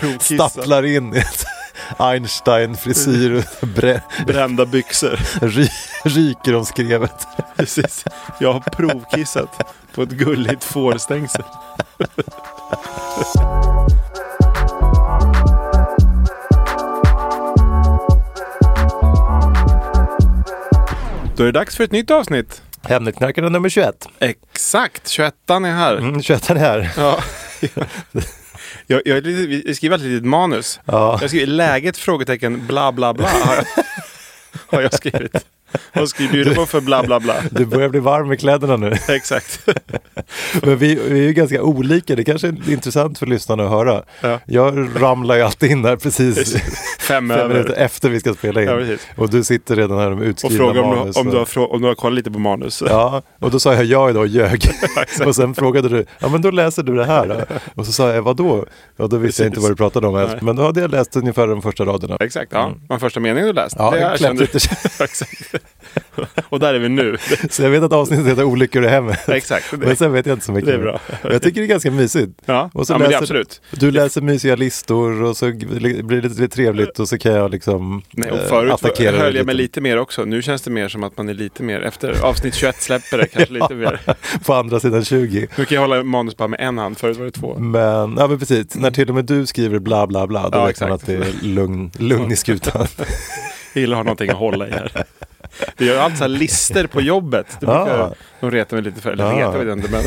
Provkissa. Stapplar in i ett Einstein-frisyr och brä- Brända byxor. ry, ryker om skrevet. Precis. Jag har provkissat på ett gulligt fårstängsel. Då är det dags för ett nytt avsnitt. Hemligknarkarna nummer 21. Exakt, 21 är här. Mm, 21 är här. Ja. Jag, jag, är lite- vi- jag skriver ett litet manus. Ja. Jag skriver läget? Frågetecken, bla bla bla. Har jag, har jag skrivit. Vad skriver du på för bla bla bla? Du börjar bli varm i kläderna nu. Exakt. Men vi, vi är ju ganska olika, det kanske är intressant för lyssnarna att höra. Ja. Jag ramlar ju alltid in här precis Fem fem minuter över. efter vi ska spela in. Ja, precis. och du sitter redan här med Och utskrivna fråga om manus. du, om, du har, frå- om du har kollat lite på manus. Ja, och då sa jag ja idag och ljög. och sen frågade du, ja men då läser du det här då. Och så sa jag, vadå? Ja, då visste jag inte vad du pratade om ens. Men då hade jag läst ungefär de första raderna. Exakt, ja. Den första meningen du läst. Mm. Ja, jag klämde erkände lite. du. Exakt. Och där är vi nu. Så jag vet att avsnittet heter Olyckor i hemmet. Exakt. Men sen vet jag inte så mycket. Det är bra. Men Jag tycker det är ganska mysigt. Ja, ja, men det är absolut. Du läser mysiga listor och så blir det lite trevligt och så kan jag liksom Nej, eh, och förut attackera dig höll jag mig lite mer också. Nu känns det mer som att man är lite mer efter avsnitt 21 släpper det kanske lite mer. På andra sidan 20. Nu kan jag hålla manus bara med en hand, förut var det två. Men, ja men precis, när till och med du skriver bla bla bla, då Mm. Ja, vet man att exakt. det är lugn, lugn i skutan. Jag gillar att ha någonting att hålla i här. Vi gör ju alltid så här lister på jobbet. Det brukar Ah. de reta mig lite för. Eller Ah. reta vet jag inte, men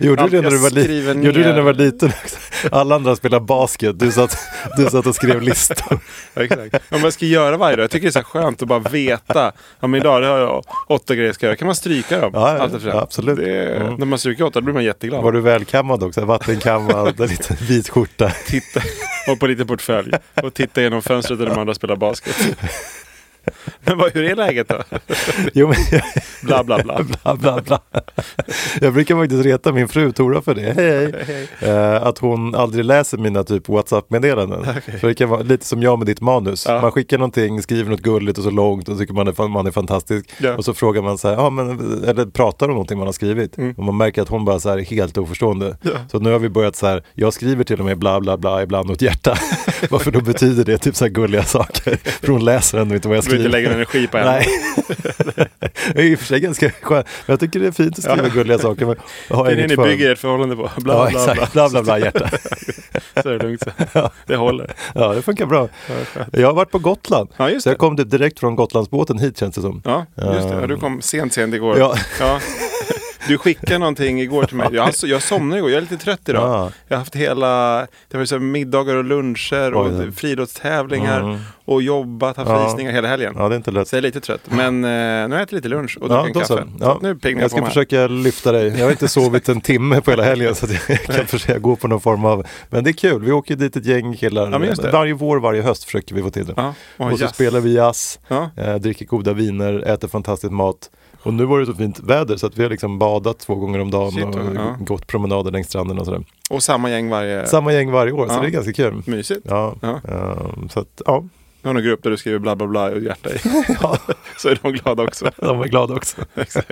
Gjorde du det Jag när du var, li- skriver gjorde du ner- det när du var liten? också? Alla andra spelade basket, du satt, du satt och skrev listor. ja, exakt. Om jag ska göra varje dag. Jag tycker det är så här skönt att bara veta. Ja, men idag det har jag åtta grejer jag ska göra. Kan man stryka dem? Ja, ja, Allt efter det. ja, absolut. Det, Mm. När man stryker åtta då blir man jätteglad. Var du välkammad också? Vattenkammad, en liten vit skjorta. titta och på lite portfölj och titta genom fönstret där de andra spelar basket. Men vad, hur är läget då? Jo, men Bla jag, bla bla. bla, bla, bla. jag brukar faktiskt reta min fru Tora för det. Hej, hej. Eh, att hon aldrig läser mina typ WhatsApp-meddelanden. För det kan vara lite som jag med ditt manus. Ja. Man skickar någonting, skriver något gulligt och så långt och tycker man är, fan- man är fantastisk. Ja. Och så frågar man så här, ja, men, eller pratar om någonting man har skrivit. Mm. Och man märker att hon bara så här är helt oförstående. Så nu har vi börjat så här, jag skriver till och med bla bla bla ibland åt hjärta. Varför då betyder det typ så här gulliga saker? För hon läser ändå inte vad jag Du behöver skriver. inte lägga någon energi på henne. Nej. det är i och för sig ganska skönt. Men jag tycker det är fint att skriva gulliga saker. Men jag har Det är det inget ni för. bygger ert förhållande på. Bla, ja, bla, exakt. bla. Bla, bla, bla, hjärta. Så är det lugnt. Det håller. Ja, det funkar bra. Jag har varit på Gotland. Ja, just så jag det. kom typ direkt från Gotlandsbåten hit känns det som. Ja, just det. Ja, Du kom sent, sent igår. Ehm. Ja. Du skickade någonting igår till mig. Jag, alltså, jag somnade igår, jag är lite trött idag. Ja. Jag har haft hela, det var så här middagar och luncher Oj, och det. friidrottstävlingar och jobbat, haft Ja. visningar hela helgen. Ja, det är inte lätt. Så jag är lite trött. Men eh, nu har jag ätit lite lunch och druckit en då så. kaffe. Ja. Nu piggnar jag jag på ska mig. försöka lyfta dig. Jag har inte sovit en timme på hela helgen så att jag kan försöka gå på någon form av... Men det är kul, vi åker dit ett gäng killar. Ja, men just det. varje vår, varje höst försöker vi få till det. Ja. Oj, och så jazz. spelar vi jazz, Ja. eh, dricker goda viner, äter fantastiskt mat. Och nu var det så fint väder så att vi har liksom badat två gånger om dagen Shit, och ja. gått promenader längs stranden och sådär. Och samma gäng varje... Samma gäng varje år, så Ja. det är ganska kul. Mysigt. Ja, Ja. ehm, så att ja, Du har någon grupp där du skriver bla bla bla och hjärta i. Så är de glada också. de är glada också. Exakt.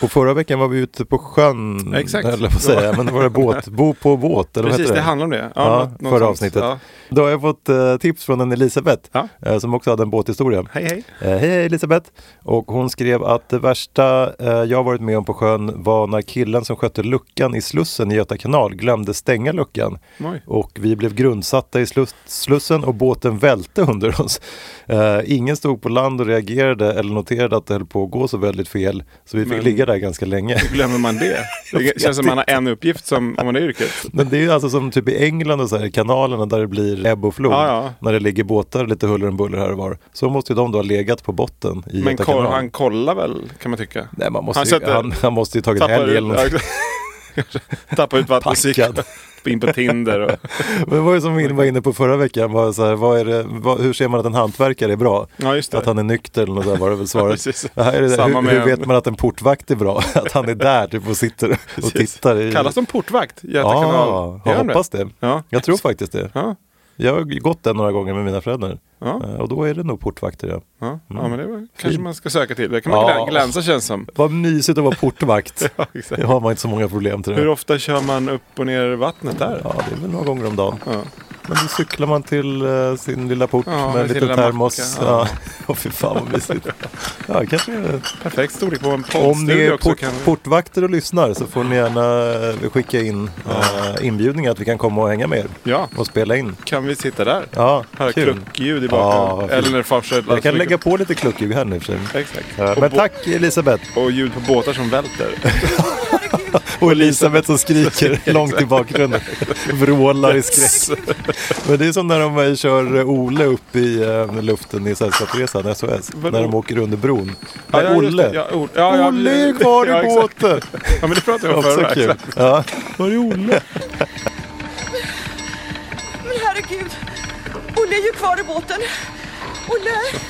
Och förra veckan var vi ute på sjön, Exakt. eller vad säger jag, men var det båt, bo på båt? Eller vad Precis, heter det handlar om det. Ja, något- något förra sånt. avsnittet. Ja. Då har jag fått eh, tips från en Elisabeth Ja. eh, som också hade en båthistoria. Hej hej. Eh, hej hej Elisabeth! Och hon skrev att det värsta eh, jag varit med om på sjön var när killen som skötte luckan i Slussen i Göta kanal glömde stänga luckan. Oj. Och vi blev grundsatta i slus- Slussen och båten välte under oss. Eh, ingen stod på land och reagerade eller noterade att det höll på att gå så väldigt fel. Så vi fick Men- ligga där ganska länge. Hur glömmer man det? Det känns som man har en uppgift som, om man är i yrket. Men det är ju alltså som typ i England och så här, i kanalerna där det blir ebb och flod. Ja, ja. När det ligger båtar lite huller om buller här och var. Så måste ju de då ha legat på botten i Men Göta koll, kanal. han kollar väl kan man tycka. Nej, man måste han ju, sätter- han, han måste ju tagit Tappar helg ut, eller något. ja, kanske. tappar ut vattnet och Packad. cyklar in på Tinder. Och, Men det var ju som vi var inne på förra veckan. Var så här, vad är det, vad, hur ser man att en hantverkare är bra? ja, just det. Att han är nykter eller något där var det väl svaret. Precis. Det här är det där. Samma Hur, med- hur vet man att en portvakt är bra? Att han är där typ, och sitter och Precis. tittar. I... Kallas de portvakt? Göta Ja, kanal? jag Gör de hoppas det. Ja. Jag tror faktiskt det. Ja, Jag har gått där några gånger med mina föräldrar. Ja. Eh, Och då är det nog portvakter. Ja. ja. ja, men det var, kanske man ska söka till. Det kan man Mm. Ja. glä- glänsa känns som. Vad mysigt att vara portvakt. Ja, exakt. Det har man inte så många problem till. Hur Det. ofta kör man upp och ner vattnet där? Ja, det är väl några gånger om dagen. Ja. Men då cyklar man till eh, sin lilla port Ja, med en med sin liten lilla termos. macka, Ja. ja. Åh, fy fan vad mysigt. Ja, kanske. eh, Perfekt storlek på en Om ni poddstudio är också. port, kan vi- portvakter och lyssnar så får ni gärna eh, skicka in eh, inbjudningar att vi kan komma och hänga med er Ja, och spela in. kan vi sitta där? Ja, Höra kul. kluckljud i Ja, vad bakgrunden. fint. Eller när farsan Jag kan lägga på lite kluckljud här nu i och för sig. Alltså, Exakt. Eh, Och Men bo- tack Elisabeth Och ljud på båtar som välter. och Elisabeth som skriker långt i bakgrunden. Vrålar i skräck. Men det är som när de eh, kör eh, Ole upp i eh, luften i Sällskapsresan, SOS. Vadå? När de åker under bron. Ja, Nej, ja, just det. Olle. Ja, or- ja, ja, Olle är kvar ja, i exakt. båten! Ja, men det pratade jag om Också förra. kul. exakt. Ja. Var är Olle? Men herregud, Olle är ju kvar i båten. Olle!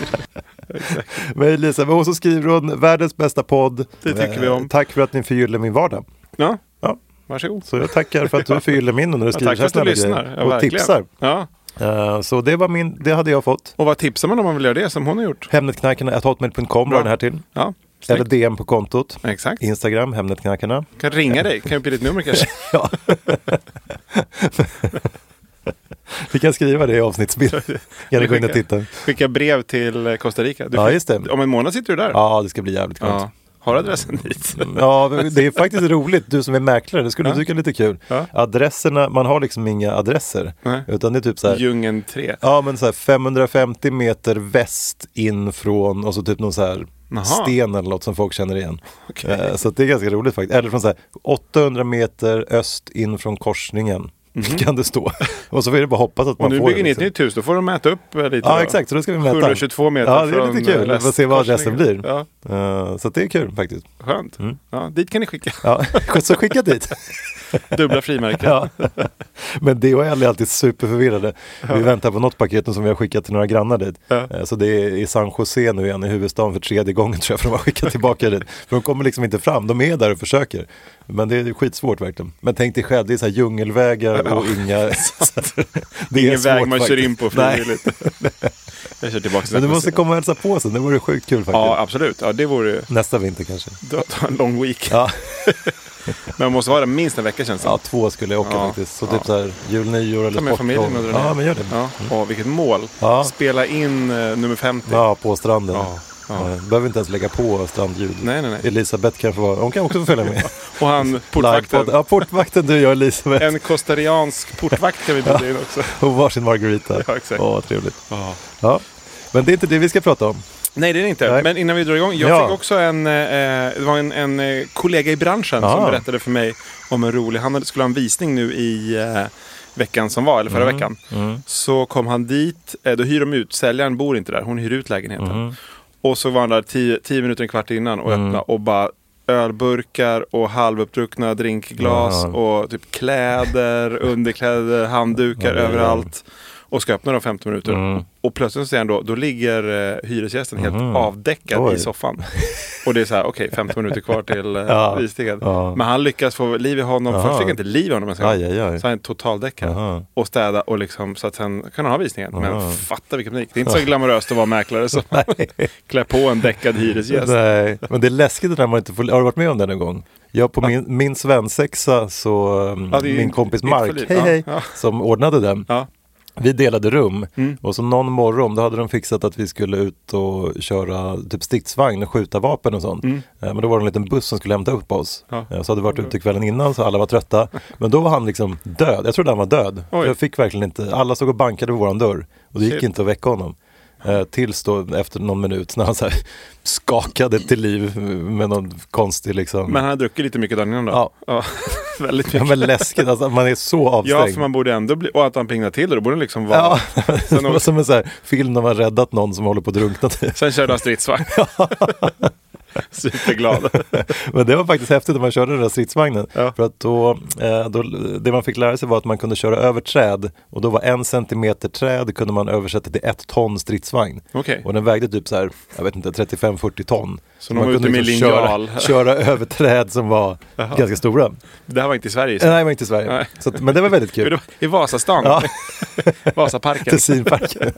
Men Elisabeth, och så skriver hon världens bästa podd. Det tycker Eh, vi om. Tack för att ni förgyller min vardag. Ja, Ja. varsågod. Så jag tackar för att du förgyller min när du skriver Tack för att du snälla lyssnar. grejer. Ja, och verkligen. tipsar. Ja. Eh, Så det var min, det hade jag fått. Och vad tipsar man om man vill göra det som hon har gjort? Hemnetknarkarna, hotmail.com var Bra. den här till. Ja, Eller snyggt. DM på kontot. Exakt. Instagram, Hemnetknarkarna. Kan ringa dig, kan jag uppge ditt nummer kanske? Ja. Vi kan skriva det i avsnittsbilden. Kan ni gå in och titta? Skicka brev till eh, Costa Rica. Du Ja, får- just det. Om en månad sitter du där. Ja, det ska bli jävligt skönt. Ja. Har adressen dit? Ja, det är faktiskt roligt. Du som är mäklare, det skulle du Ja. tycka är lite kul. Ja. Adresserna, man har liksom inga adresser. Nej. Utan det är typ så här, Djungeln 3. ja, men så här 550 meter väst in från och så typ någon så här Jaha. sten eller något som folk känner igen. Okej. Eh, Så att det är ganska roligt faktiskt. Eller från så här 800 meter öst in från korsningen kan det stå. Och så får det bara hoppas att Mhm. Och nu man får bygger det. ni ett liksom. nytt hus, då får de mäta upp eh, lite. Ja då. exakt, så då ska vi mäta. 722 meter Ja, det är från, lite kul. eh, Vi får se vad adressen västkorsningen. blir. Mm. Ja, Eh, Så att det är kul faktiskt. skönt. Ja, dit kan ni skicka Ja, så skicka dit. dubbla frimärken. Ja. Men DHL är alltid superförvirrade. Vi väntar på något paket nu som vi har skickat till några grannar dit. Ja. Eh, Så det är i San Jose nu igen i huvudstaden för tredje gången tror jag för de har skickat tillbaka dit. För de kommer liksom inte fram, de är där och försöker. Men det är skitsvårt verkligen. Men tänk dig själv, det är så här djungelvägar och inga... så att det är Ingen väg svårt man kör faktiskt. in på Nej. frivilligt. jag kör tillbaka till Men du San måste Jose. komma och hälsa på sen, det vore sjukt kul faktiskt. Ja, absolut. Ja, det vore ju... Nästa vinter kanske. då- Ta en lång week. Ja. Men man måste vara där minst en vecka känns det Ja, två skulle jag åka Ja, faktiskt. Så ja. typ så här jul, nyår eller Ta med familjen och dra Ja, men gör det. Mm. Ja. Åh, vilket mål. Ja. Spela in eh, nummer 50. Ja, på stranden. Ja, ja. Eh, Behöver inte ens lägga på strandljud. Nej, nej, nej. Elisabeth kan få vara, hon kan också få följa med. Och han, portvakten. Livepodd. Ja, portvakten du och jag Elisabeth. En costariansk portvakt kan vi bjuda in också. Och varsin margarita. Ja, exakt. Åh, vad trevligt. Ja. Men det är inte det vi ska prata om. Nej, det är det inte. Nej. Men innan vi drar igång. Jag Ja. fick också en, eh, det var en, en eh, kollega i branschen som Ah. berättade för mig om en rolig, han hade, skulle ha en visning nu i eh, veckan som var, eller förra Mm. veckan. Så kom han dit, eh, då hyr de ut, säljaren bor inte där, hon hyr ut lägenheten. Mm. Och så var han där tio, tio minuter, en kvart innan och öppnade och bara ölburkar och halvuppdruckna drinkglas och typ kläder, underkläder, handdukar överallt. och ska öppna dem 15 minuter. Mm. Och plötsligt så ser han då, då ligger eh, hyresgästen helt avdäckad Oj. i soffan. Och det är så här, okej, 15 minuter kvar till eh, Ja. visningen. Ja. Men han lyckas få liv i honom. Aha. Först fick han inte liv i honom. ens en gång. Aj, aj, aj. Så han är totaldäckad. Aha. Och städa och liksom, så att sen kan han ha visningen. Aha. Men fatta vilken panik. Det är inte så glamoröst att vara mäklare som klär på en däckad hyresgäst. Nej, men det är läskigt när man inte får... Har du varit med om det någon gång? Ja, på min, min svensexa så... um, Ja, det är min inte- kompis inte för Mark, liv. hej Ja, hej, ja. som ordnade den. Ja. Vi delade rum Mm. och så någon morgon då hade de fixat att vi skulle ut och köra typ stridsvagn och skjuta vapen och sånt. Eh, Men då var det en liten buss som skulle hämta upp oss. Mm. Ja. Mm. Eh, Så hade vi varit ute kvällen innan så alla var trötta. Men då var han liksom död. Jag trodde han var död. För Oj. Jag fick verkligen inte, alla stod och bankade på våran dörr och det gick Shit. inte att väcka honom. Eh, Tills då efter någon minut när han så här skakade till liv med någon konstig liksom... Men han har druckit lite mycket dagen innan då? Ja. Väldigt mycket. ja, men läskigt, alltså, man är så avstängd. Ja, för man borde ändå bli... Och att han pingnar till det, då borde han liksom vara... Ja, det Sen, var som en så här film när man räddat någon som håller på att drunkna. typ. sen körde han stridsvagn. Superglad. Men det var faktiskt häftigt när man körde den där stridsvagnen. Ja. För att då, eh, då, det man fick lära sig var att man kunde köra över träd och då var en centimeter träd kunde man översätta till ett ton stridsvagn. Okej. Och den vägde typ så här, jag vet inte, 35-40 ton. liksom Så de var ute med linjal. köra, köra över träd som var ganska stora. Eh, Det här var inte i Sverige. Nej, det var inte i Sverige. Nej. Så att, men det var väldigt Jo, det kul. var I Vasastan. Ja. Vasaparken. Tessinparken.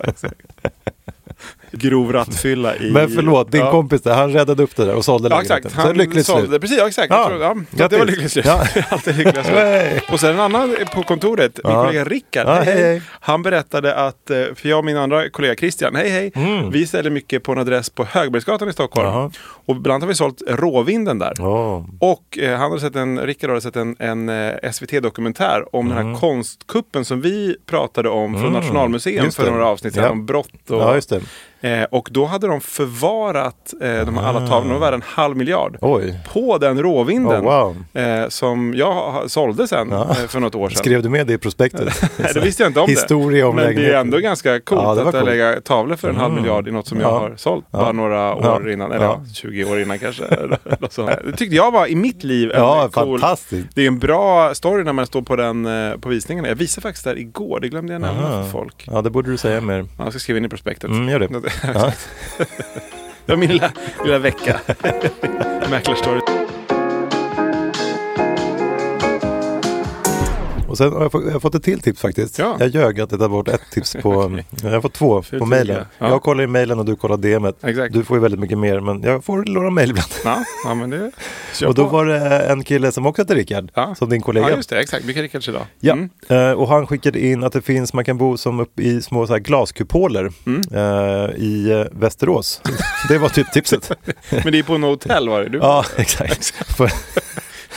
Grov rattfylla i... Men förlåt, din Ja. kompis där, han räddade upp det där och sålde Ja lägenheten. exakt, så ett lyckligt sålde- slut. Precis, ja, exakt. Ja, Jag tror, ja. Så det grattis. var lyckligt slut. Ja. Alltid lyckligt Hey. slut. Och sen en annan på kontoret, min Ja. kollega Rickard. Ja, hej, hej. Han berättade att, eh, för jag och min andra kollega Christian, hej hej. Vi säljer mycket på en adress på Högbergsgatan i Stockholm. Mm. Jaha. Och ibland har vi sålt råvinden där. Ja. Och eh, han hade sett en, Rickard hade sett en, en eh, SVT-dokumentär om Mm. den här konstkuppen som vi pratade om från Nationalmuseum Just för det. några avsnitt sedan, Ja. om brott och... Ja, just det. Eh, och då hade de förvarat eh, de här alla tavlorna, de var värda en halv miljard. Oj. På den råvinden Oh, wow. eh, som jag ha- sålde sen Ja. eh, för något år sedan. Skrev du med det i prospektet? Nej, det visste jag inte om Alltså, Historia det. om Men det är lägenheten. ändå ganska coolt Ja, det var att coolt. Mm. lägga tavlor för en halv miljard i något som Ja. jag har sålt bara några år Ja. innan. Eller Ja. ja. 20 år innan kanske. eller något sånt. det tyckte jag var i mitt liv en Ja, cool... fantastiskt. Det är en bra story när man står på den eh, på visningen. Jag visade faktiskt där igår, det glömde jag nämna för folk. Ja, det borde du säga mer. Ja, Jag ska skriva in i prospektet. Mm, gör det. Ja. Det var min lilla, lilla vecka. Mäklarstory. Och sen har jag, fått, jag har fått ett till tips faktiskt. Ja. Jag ljög att jag tar bort ett tips på... Jag har fått två på tiga. mejlen. Ja. Jag kollar i mejlen och du kollar DMet. Exakt. Du får ju väldigt mycket mer, men jag får några mejl ibland. Ja, ja, men det... Kör Och då på. var det eh, en kille som också hette Rickard, Ja. som din kollega. Ja, just det. Exakt. Mikael Rickards idag. Ja, Mm. eh, och han skickade in att det finns, man kan bo som upp i små så här glaskupoler Mm. eh, i eh, Västerås. det var typ tipset. Men det är på en hotell var det? Du ja, exakt. För-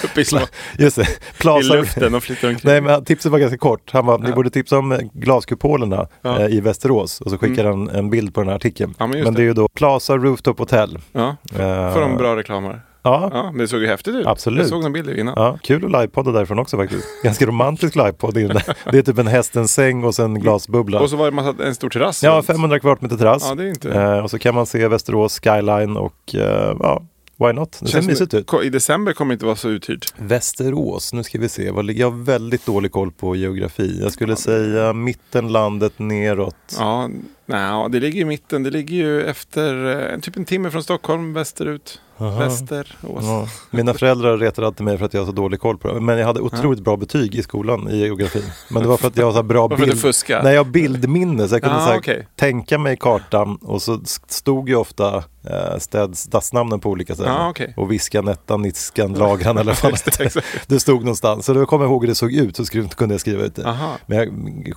uppe i, små, just det, i Plaza. luften och flyttar omkring. Nej, men tipset var ganska kort. Han bara, ni borde tipsa om eh, glaskupolerna Ja. Mm. eh, i Västerås. Och så skickar han en bild på den här artikeln. Ja, men just men det är det. ju då Plaza Rooftop Hotel. Ja, Eh, får de bra reklamer. Ja, ja. Ja, men det såg ju häftigt ut. Absolut. Jag såg någon bild innan. kul att livepodda därifrån också faktiskt. Ganska romantisk livepodd. i den där. Det är typ en hästens säng och sen glasbubbla. Och så var det massa, en stor terrass. Ja, runt. 500 kvadratmeter terrass. Ja, det är inte- Eh, och så kan man se Västerås skyline och eh, ja, why not? Det ser Känns mysigt som- ut. ko- I december kommer det inte vara så uthyrt. Västerås, nu ska vi se. Vad ligger- Jag har väldigt dålig koll på geografi. Jag skulle säga mitten landet neråt. Ja, nej, det ligger i mitten. Det ligger ju efter eh, typ en timme från Stockholm västerut. Västerås. Ja. Mina föräldrar retar alltid mig för att jag har så dålig koll på det. Men jag hade otroligt bra betyg i skolan i geografi. Men det var för att jag har så här bra Varför du bild... fuskar? Nej, jag har bildminne. Så jag kunde Ah, så här okej. tänka mig kartan och så stod ju ofta eh, städs, stadsnamnen på olika ställen. Ah, okej. Och Viskan, Ettan, Nitskan, Lagran eller vad det hette. Det stod någonstans. Så då kommer jag ihåg hur det såg ut så skrev- kunde jag skriva ut det. Aha. Men jag,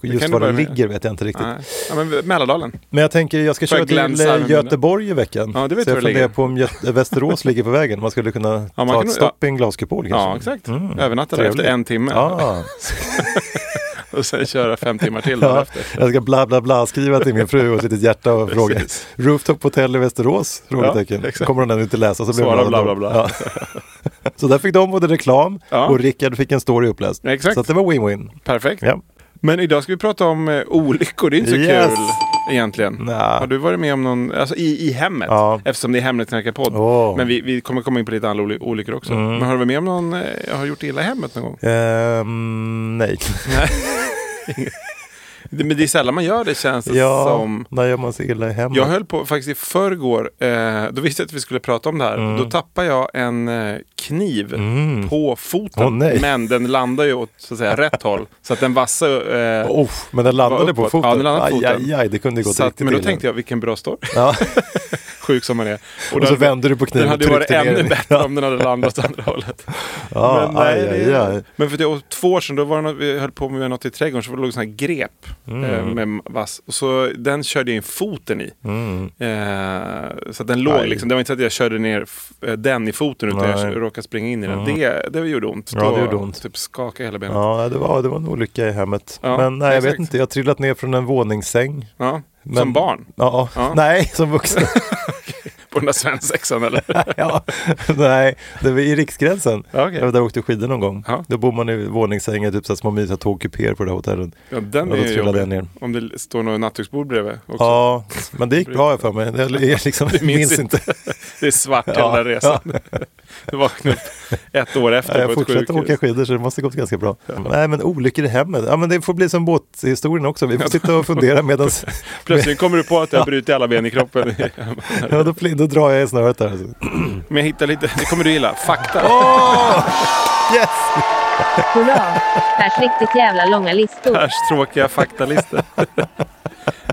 just kan var du det börja med. ligger vet jag inte riktigt. Nej. Ja, men Mälardalen. Men jag tänker jag ska Får köra jag till glänsa eh, med mina? Göteborg i veckan. Ja, det vet så jag var jag det funderar ligger. på om Gö- Västerås ligger på vägen. Man skulle kunna man ta kan ett nog- stopp i en glaskupol kanske. Ja, exakt. Övernatta där Mm. Trevligt. efter en timme. Ah, Och sen köra fem timmar till ja. därefter. Jag ska bla bla bla skriva till min fru och ett litet hjärta och fråga. Precis. Rooftop Hotel i Västerås? Frågetecken. exakt. Kommer hon ännu inte läsa så blir Svara hon glad bla, bla, bla. ändå. Ja. Så där fick de både reklam Ja. och Rickard fick en story uppläst. Exakt. Så att det var win-win. Perfekt. Ja. Men idag ska vi prata om eh, olyckor. Det är inte så Yes. kul egentligen. Nja. Har du varit med om någon, alltså i, i hemmet? Ja. Eftersom det är Hemligt Knarkar podd. Åh. Mm. Men vi, vi kommer komma in på lite andra oly- olyckor också. Men har du varit med om någon, eh, har gjort illa i hemmet någon gång? Ehm, nej. Det- Men det är sällan man gör det känns det Ja, som. när gör man sig illa i hemmet? Jag höll på faktiskt i förrgår, eh, då visste jag att vi skulle prata om det här. Mm. Då tappade jag en eh, kniv på foten. Åh, nej. men den landar ju åt så att säga, rätt håll. Så att den vassa... Eh, Oh, men den landade Var på uppåt. foten. Ja, den landade på aj, foten. aj, aj, det kunde gått så att, riktigt men då illa. tänkte jag, vilken bra story. Ja, Sjuk som man är. Och, och så den- vände du på kniven Den och hade ju varit tryckte ner ännu den. bättre om den hade landat åt andra hållet. Ja, Men nej, aj, aj, det- aj. Men för att jag, två år sedan, då var det något, vi höll på med något i trädgården, så var det låg en sån här grep eh, Mm. med vass. Och så den körde jag in foten i. Mm. Eh, så att den låg Aj. liksom, det var inte så att jag körde ner f- eh, den i foten utan Nej. Mm. jag råkade springa in i den. Det, det gjorde ont. Ja, det Då gjorde ont. Typ skakade hela benet. Ja. Ja, det var, det var en olycka i hemmet. Ja, men nej, jag vet exakt. inte, jag har trillat ner från en våningssäng. Men- Som barn, Ja, Ja. nej, som vuxen. på den där svensexan eller? ja, nej, det var i Riksgränsen. Ja, okej. Jag var där och åkte skidor någon gång. Ja. Då bor man i våningssängar, typ så här små mysiga tågkupéer på det här hotellet. Ja, den Ja, då är ju trillade jag jobbig. ner. Om det står något nattduksbord bredvid också. Ja, men det gick bra för mig. Jag, jag liksom, Du minns minns inte. Det är svart hela Ja, resan. Du vaknade upp ett år efter Nej, jag på ett fortsätter sjukhus. åka skidor så det måste gått ganska bra. Nej, men olyckor i hemmet. Ja, men det får bli som båthistorien också. Vi får sitta och fundera medan... Plötsligt kommer du på att jag har brutit alla ben i kroppen. Ja, då, pl- då drar jag i snöret där. alltså. Men jag hittar lite, det kommer du gilla, fakta. Yes! Hurra! Pers riktigt jävla långa listor. Pers tråkiga faktalistor.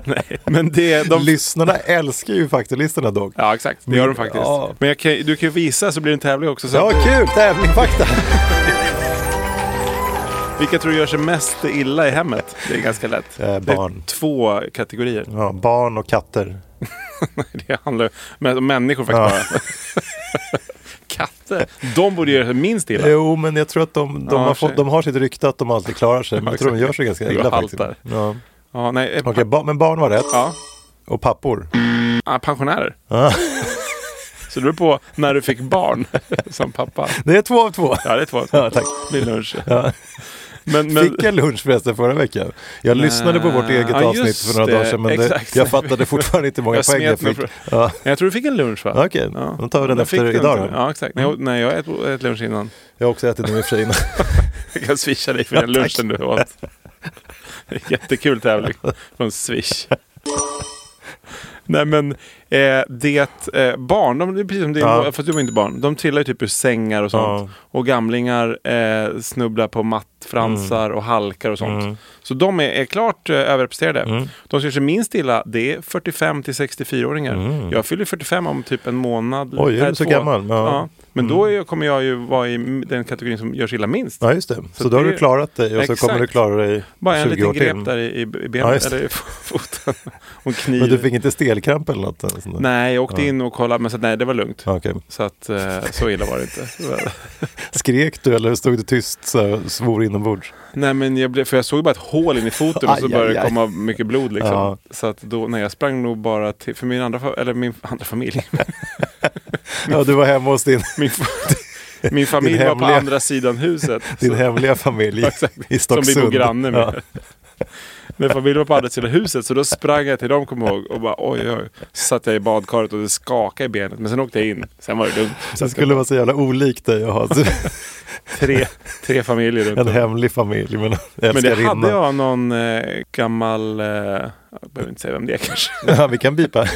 Nej, men det, de... Lyssnarna älskar ju faktalistorna dock. Ja, exakt. Det gör de faktiskt. Ja. Men jag kan, du kan ju visa så blir det en tävling också. Så Ja, att- kul! Tävling fakta! Vilka tror du gör sig mest illa i hemmet? Det är ganska lätt. Eh, barn. Mm. Det är två kategorier. Ja, barn och katter. Det handlar ju men- om människor faktiskt bara. Katter, de borde göra sig minst illa. Jo, men jag tror att de, de, Ja, har, tjej. fått, de har sitt rykte att de alltid klarar sig. Men jag tror de gör sig ganska Ja, illa faktiskt. haltar. Ja. Ja, nej, eh, Okej, ba- men barn var rätt. ja. Och pappor. Ah, pensionärer. Ah. Så det beror på när du fick barn som pappa. Det är två av två. Ja, det är två. Ja, tack. Min lunch. Ja. Men, men, Fick jag lunch förresten förra veckan? Jag lyssnade på vårt eget Ja, just avsnitt för några det. dagar sedan men det, Exakt. jag fattade fortfarande inte hur många Jag poäng jag smet mig fick. Ja. jag tror du fick en lunch va? Okej, då tar vi den Jag fick efter idag inte. då. Ja, exakt. Nej, jag- nej, jag äter äter lunch innan. Jag har också ätit den i och för sig innan. Jag kan swisha dig för den lunchen du åt. Jättekul tävling från Swish. Nej men eh, det, eh, barn, de, det är precis som din, Ja. fast du var inte barn, de trillar ju typ ur sängar och sånt. Och gamlingar eh, snubblar på mattfransar Mm. och halkar och sånt. Så de är, är klart eh, överrepresenterade. Mm. De som gör sig minst illa, det är 45 till 64-åringar. Jag fyller 45 om typ en månad. Mm. Oj, är nej, du så två. gammal? Ja. Mm. Men då är, kommer jag ju vara i den kategorin som gör sig illa minst. Ja just det, så, Så då har det- du klarat dig och så kommer Exakt. du klara dig Bara en 20 liten år grep till. där i, i benet Ja, just det. eller i foten. Och kniv. Men du fick inte stelkramp eller något? eller sånt där? Nej, jag åkte in och kollade men så, nej, det var lugnt. Ja, okej. Så att eh, så illa var det inte. Skrek du eller stod du tyst så här, svor inombords? nej men jag blev, för jag såg bara ett hål in i foten och så Aj, började aj, det aj. komma mycket blod liksom. Ja. Så att då, nej jag sprang nog bara till, för min andra, fa- eller min andra familj. Ja, du var hemma hos din, Min, fa- min familj var på hemliga- andra sidan huset. din Så- hemliga familj i Som Stocksund. vi bor granne med. Ja. När familjen var på andra sidan huset så då sprang jag till dem kommer jag ihåg och bara oj oj. Så satt jag i badkaret och det skakade i benet men sen åkte jag in. Sen var det lugnt. Så Det att skulle vara så jävla olikt dig att ha tre, tre familjer runt en om. hemlig familj med en Men det hade älskarinna. jag någon eh, gammal, eh, jag behöver inte säga vem det är kanske, Ja, vi kan bipa.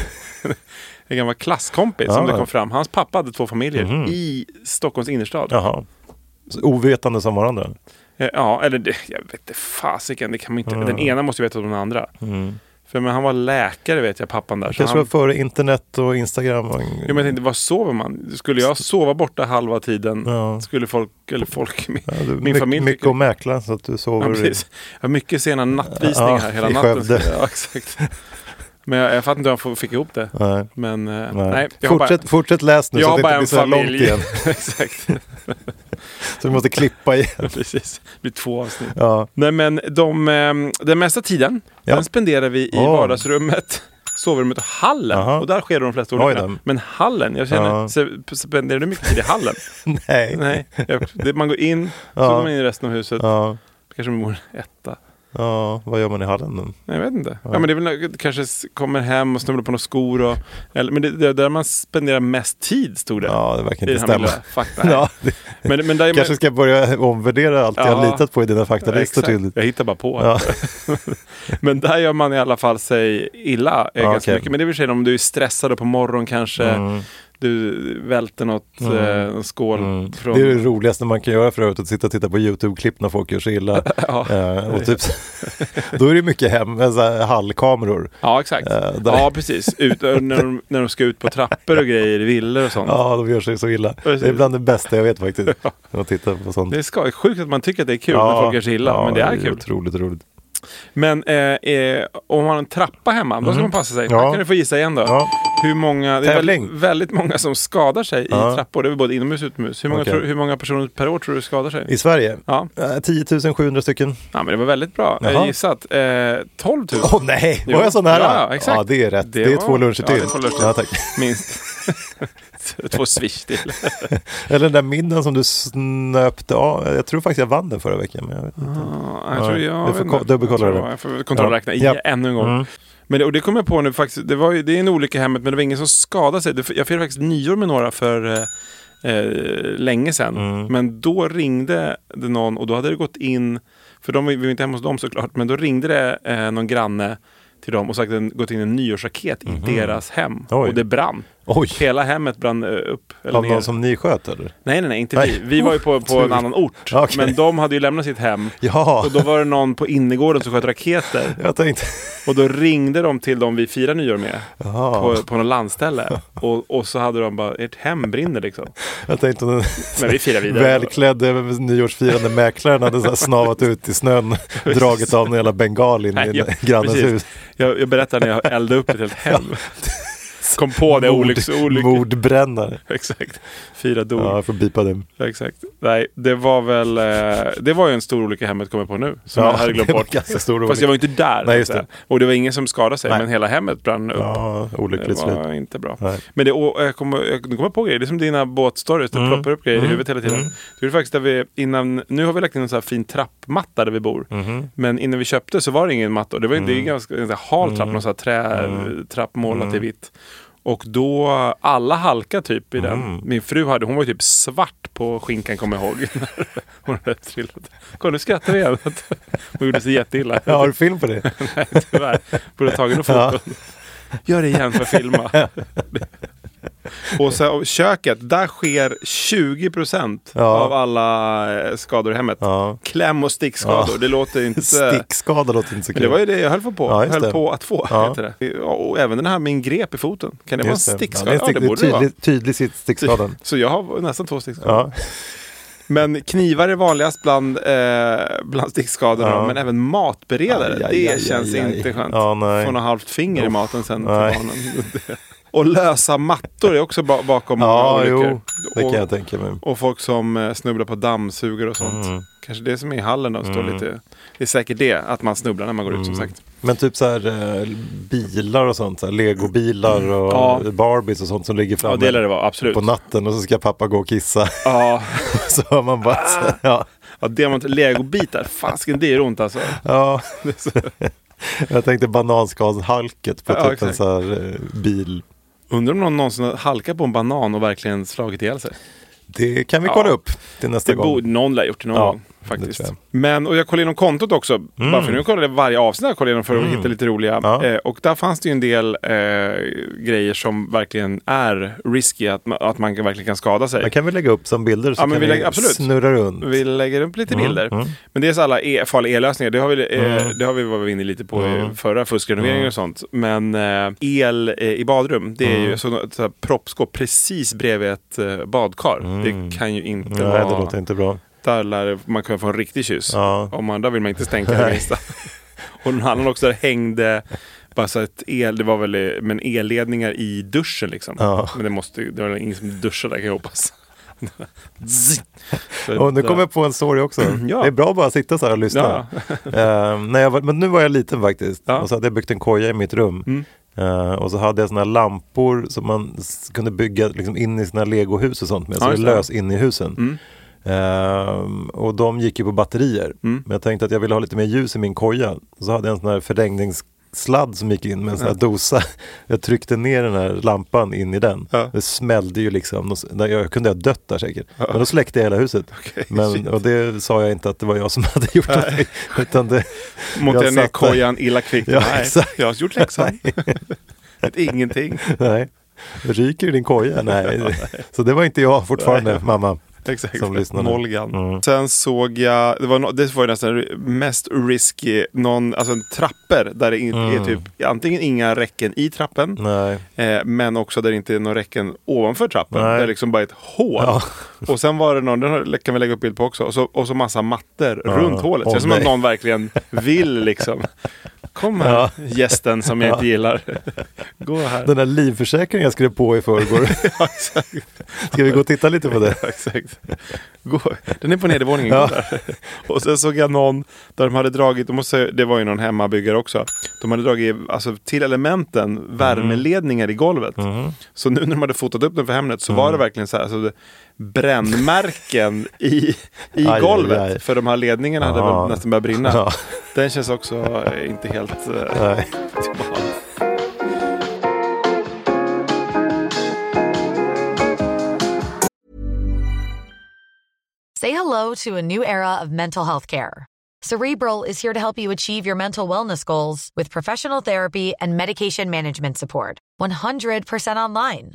en gammal klasskompis som Ja. Mhm. det kom fram. Hans pappa hade två familjer i Stockholms innerstad. Ja, Jaha. Så Ovetande som varandra. ja eller det, jag vet inte fasiken, det kan man inte. Den ena måste ju veta om den andra. Mm. För men han var läkare vet jag, pappan där. så Kanske han, var före internet och Instagram. Och... Ja, men jag tänkte, vad sover man? Skulle jag sova borta halva tiden? Ja. Skulle folk, eller folk, min, Ja, du, min my- familj Mycket tycker- att mäkla så att du ja, sover. i- precis. Jag har mycket sena nattvisningar Ja, här hela i natten. Skövde. Ja, exakt. Men jag, jag fattar inte hur jag få- fick ihop det. Nej. Men eh, Nej. nej, jag har bara, fortsätt, fortsätt läs nu jag så att har det inte bara blir en så här familj. långt igen. exakt, Så vi måste klippa igen. precis. Det blir två avsnitt. Ja. Nej men de, ehm, den mesta tiden, Ja. den spenderar vi i Åh. vardagsrummet, sovrummet och hallen. Jaha. Och där sker de flesta Oj olyckorna. då. Men hallen, jag känner, Ja. se- spenderar du mycket tid i hallen? Nej. Nej, jag, det, man går in, så Ja. går man in i resten av huset. Ja. Kanske man bor i en etta. Ja, vad gör man i hallen? Nej, Jag vet inte. Ja. men det är väl när- kanske s- kommer hem och snubblar på några skor. Och, eller, men det, det är där man spenderar mest tid, stod det. Ja, det verkar I inte den här stämma. lilla fakta här. Ja, det, Men, men där, kanske men, ska börja omvärdera allt jag har Ja. litat på i dina faktalistor exakt. till. Jag hittar bara på. Ja. Men där gör man i alla fall sig illa eh, Ja, ganska okej. Mm. mycket. Men det är väl sig om du är stressad och på morgonen kanske du välter något mm. skål. Från, Mm. Det är det roligaste man kan göra för övrigt, att sitta och titta på YouTube-klipp när folk gör sig illa. Eh, och typ, då är det mycket hem, eh, så här, hallkameror. Ja, exakt. Eh, där- ja, precis. Ut, eh, när, de, när de ska ut på trappor och grejer i villor och sånt. Ja, de gör sig så illa. Precis. Det är bland det bästa jag vet faktiskt. Att titta på sånt. Det är skoj. Sjukt att man tycker att det är kul när folk gör sig illa, ja, men det är kul. Otroligt roligt. Men eh, eh, om man har en trappa hemma, då ska man passa sig. Här Mm. Ja. kan du få gissa igen då. Ja. Hur många, det är Tävling. väldigt, väldigt många som skadar sig i Ja. trappor. Det är väl både inomhus och utomhus. Hur många, Okej. tror, hur många personer per år tror du skadar sig? I Sverige? Ja. Eh, 10 700 stycken. ja, men det var väldigt bra Jaha. gissat. Eh, 12 000 Åh oh, nej, Jo. var jag så nära? Ja, ja, exakt. ja det är rätt. Det Det, är var- två luncher ja, till. det är två luncher. Ja, tack. minst. Två swish till. Eller den där middagen som du snöpte av. Jag tror faktiskt jag vann den förra veckan. Men jag vet inte. Ja, jag tror Ja, jag du får vet ko- inte. dubbelkolla jag tror det. Jag får kontrollräkna Ja. Mm. ja. ännu en gång. Men det, och det kom jag på nu faktiskt. Det, var ju, det är en olycka i hemmet men det var ingen som skadade sig. Det, jag firade faktiskt nyår med några för eh, eh, länge sedan. Mm. Men då ringde det någon och då hade det gått in, för de, vi var inte hemma hos dem såklart, men då ringde det eh, någon granne till dem och sagt att det gått in en nyårsraket i deras hem. Mhm. Oj. Och det brann. Oj, Hela hemmet brann eh, upp. Eller av ner. någon som ni sköt eller? Nej, nej, nej, inte Nej. vi. Vi var ju på, på en annan ort. Okej. Men de hade ju lämnat sitt hem. Ja, Och då var det någon på innergården som sköt raketer. jag tänkte. Och då ringde de till dem vi firar nyår med. Jaha. På, på något landställe. Och, och så hade de bara, ert hem brinner liksom. Jag tänkte om den Men vi firar vidare. välklädde nyårsfirande mäklaren hade så här snavat ut i snön, dragit av någon jävla bengal in Nej, i jag- grannens precis. hus. Jag, jag berättade när jag eldade upp ett helt hem. Kom på det, Mord- olycks, olyck. Mordbrännare. Exakt. Fyra dog. Ja, jag får bipa det. Ja, Exakt. Nej, det var väl... eh, Det var ju en stor olycka i hemmet kommer jag på nu. Som Ja, jag hade glömt det var bort. ganska stor Fast jag var ju inte där. Nej, just så att det. säga. Och det var ingen som skadade sig. Nej. Men hela hemmet brann upp. Ja, Det olyckligt slut. var inte bra. Nej. Men det, och jag kommer, jag, nu kommer jag på grejer. Det är som dina båtstories. Det Mm. ploppar upp grejer i huvudet hela tiden. Det är faktiskt där vi, innan, nu har vi lagt in en sån här fin trappmatta där vi bor. Mm-hmm. Men innan vi köpte så var det ingen matta. Det, var, Mm. det är ju ganska en sån här hal trapp. Någon sån här trätrapp målat i vitt. Och då, alla halka typ i Mm. den. Min fru hade, hon var ju typ svart på skinkan kommer jag ihåg. hon hade trillat. Kolla nu skrattar vi igen. hon gjorde sig jätteilla. Ja, har du film på det? Nej, tyvärr. Borde ha tagit några foton. Gör det igen för att filma. och så och köket, där sker 20 procent Ja. av alla eh, skador i hemmet. Ja. Kläm och stickskador, Ja. det låter inte... Stickskada låter inte så Men kul. det var ju det jag höll på, Ja, just höll det. på att få. Ja. Heter det. Ja, Och även den här med en grep i foten. Kan det Just vara en stickskada? Ja, Ja, det det är en borde det stick, vara. tydlig, tydlig sitt- stickskadan. Så jag har nästan två stickskador. Ja. Men knivar är vanligast bland, eh, bland stickskadorna, Ja. men även matberedare. Aj, aj, det aj, känns aj, aj. inte skönt. Ja, nej. Få något halvt finger i maten sen till nej. barnen. och lösa mattor är också ba- bakom Ja, många jo, olyckor. det kan jag Och, tänka mig. och folk som eh, snubblar på dammsugare och sånt. Mm. Kanske det som är i hallen då, står lite... Det är säkert det, att man snubblar när man går ut som sagt. Men typ så här eh, bilar och sånt, så här, legobilar och Mm. Ja. Barbies och sånt som ligger Ja, framme det lär det vara, absolut. på natten och så ska pappa gå och kissa. Ja, så hör man bara så, här, ja, ja demont- legobitar. Fasken, det är ont alltså. ja. Jag tänkte bananskalshalket på Ja, typ en exakt. så här eh, bil. Undrar om någon någonsin har halkat på en banan och verkligen slagit ihjäl sig. Det kan vi kolla Ja. upp till nästa Det gång. borde någon lär gjort det någon Typ Ja, gång. det Faktiskt. tror jag. Mm. Men, och jag kollade igenom kontot också. Bara för nu kollade jag varje avsnitt jag kollade igenom för att hitta lite roliga. Ja. Eh, och där fanns det ju en del eh, grejer som verkligen är risky, att, ma- att man kan- verkligen kan skada sig. Det kan vi lägga upp som bilder så Ja, men kan vi vi, lägger- absolut. snurra runt. Vi lägger upp Mm, lite bilder. Men det är så alla e farliga ellösningar. Det har vi, eh, det har vi varit inne lite på Mm. i förra fuskrenoveringen och sånt. Men eh, el eh, i badrum, det är Mm. ju så, så här, proppskåp precis bredvid ett eh, badkar. Det kan ju inte Mm. Nej, vara... det låter inte bra. Där lär man kunna få en riktig kyss. Ja. Om man, där vill man inte stänka det minsta. Och någon annan också där hängde, bara så ett el, det var väl eh, men elledningar i duschen liksom. Ja. Men det, måste, ju- det var väl ingen som duschade där kan jag hoppas. Zzz. Så eh, Och nu där. kommer jag på en story också. Ja. Det är bra att bara sitta så här och lyssna. Ehm, när jag var, men nu var jag liten faktiskt. Ja. Mm. Och så hade jag byggt en koja i mitt rum. Ehm, och så hade jag såna här lampor som man s- kunde bygga liksom in i sina legohus och sånt med. Ja, Så det just det. lös in i husen. Ehm, och de gick ju på batterier. Mm. Men jag tänkte att jag ville ha lite mer ljus i min koja. Så hade jag en sån här förlängningssladd som gick in med en sån här dosa. Jag tryckte ner den här lampan in i den. Ja. Det smällde ju liksom. Jag kunde ha dött där säkert. Men då släckte jag hela huset. Okej, shit. Men, och det sa jag inte att det var jag som hade gjort. Det, utan det, Montera jag ner satt där. kojan illa kvickt. Ja, Nej, exakt. jag har gjort läxan. Vet ingenting. Nej. Ryker i din koja? Nej. Så det var inte jag fortfarande, mamma. Exakt. Som Mm. lyssnar nu. Molgan. Sen såg jag, det var, no, det var ju nästan mest risky, någon, alltså en trappor där det in, är typ antingen inga räcken i trappen. Mm. Nej. Eh, men också där det inte är några räcken ovanför trappen. Nej. Där det liksom bara är ett hål. Ja. Och sen var det någon, den har- kan vi lägga upp bild på också, och så, och så massa mattor runt hålet. Åh, det är som att nej. någon verkligen vill liksom. Kom här Ja. gästen som jag inte gillar. Gå här. Den där livförsäkringen jag skrev på i förrgår. Ja, exakt. Ska vi gå och titta lite på det? Ja, exakt. Gå. Den är på nedervåningen. Ja. gå där. Och sen såg jag någon där de hade dragit, de måste, det var ju någon hemmabyggare också, de hade dragit alltså, till elementen värmeledningar i golvet. Så nu när de hade fotat upp den för Hemnet så var det verkligen så här, alltså, det- brännmärken i, i aj, golvet. aj. För de här ledningarna hade Ja. väl nästan börjat brinna. Ja. Den känns också eh, inte helt... eh, Nej. optimal. Say hello to a new era of mental health care. Cerebral is here to help you achieve your mental wellness goals with professional therapy and medication management support. 100% online.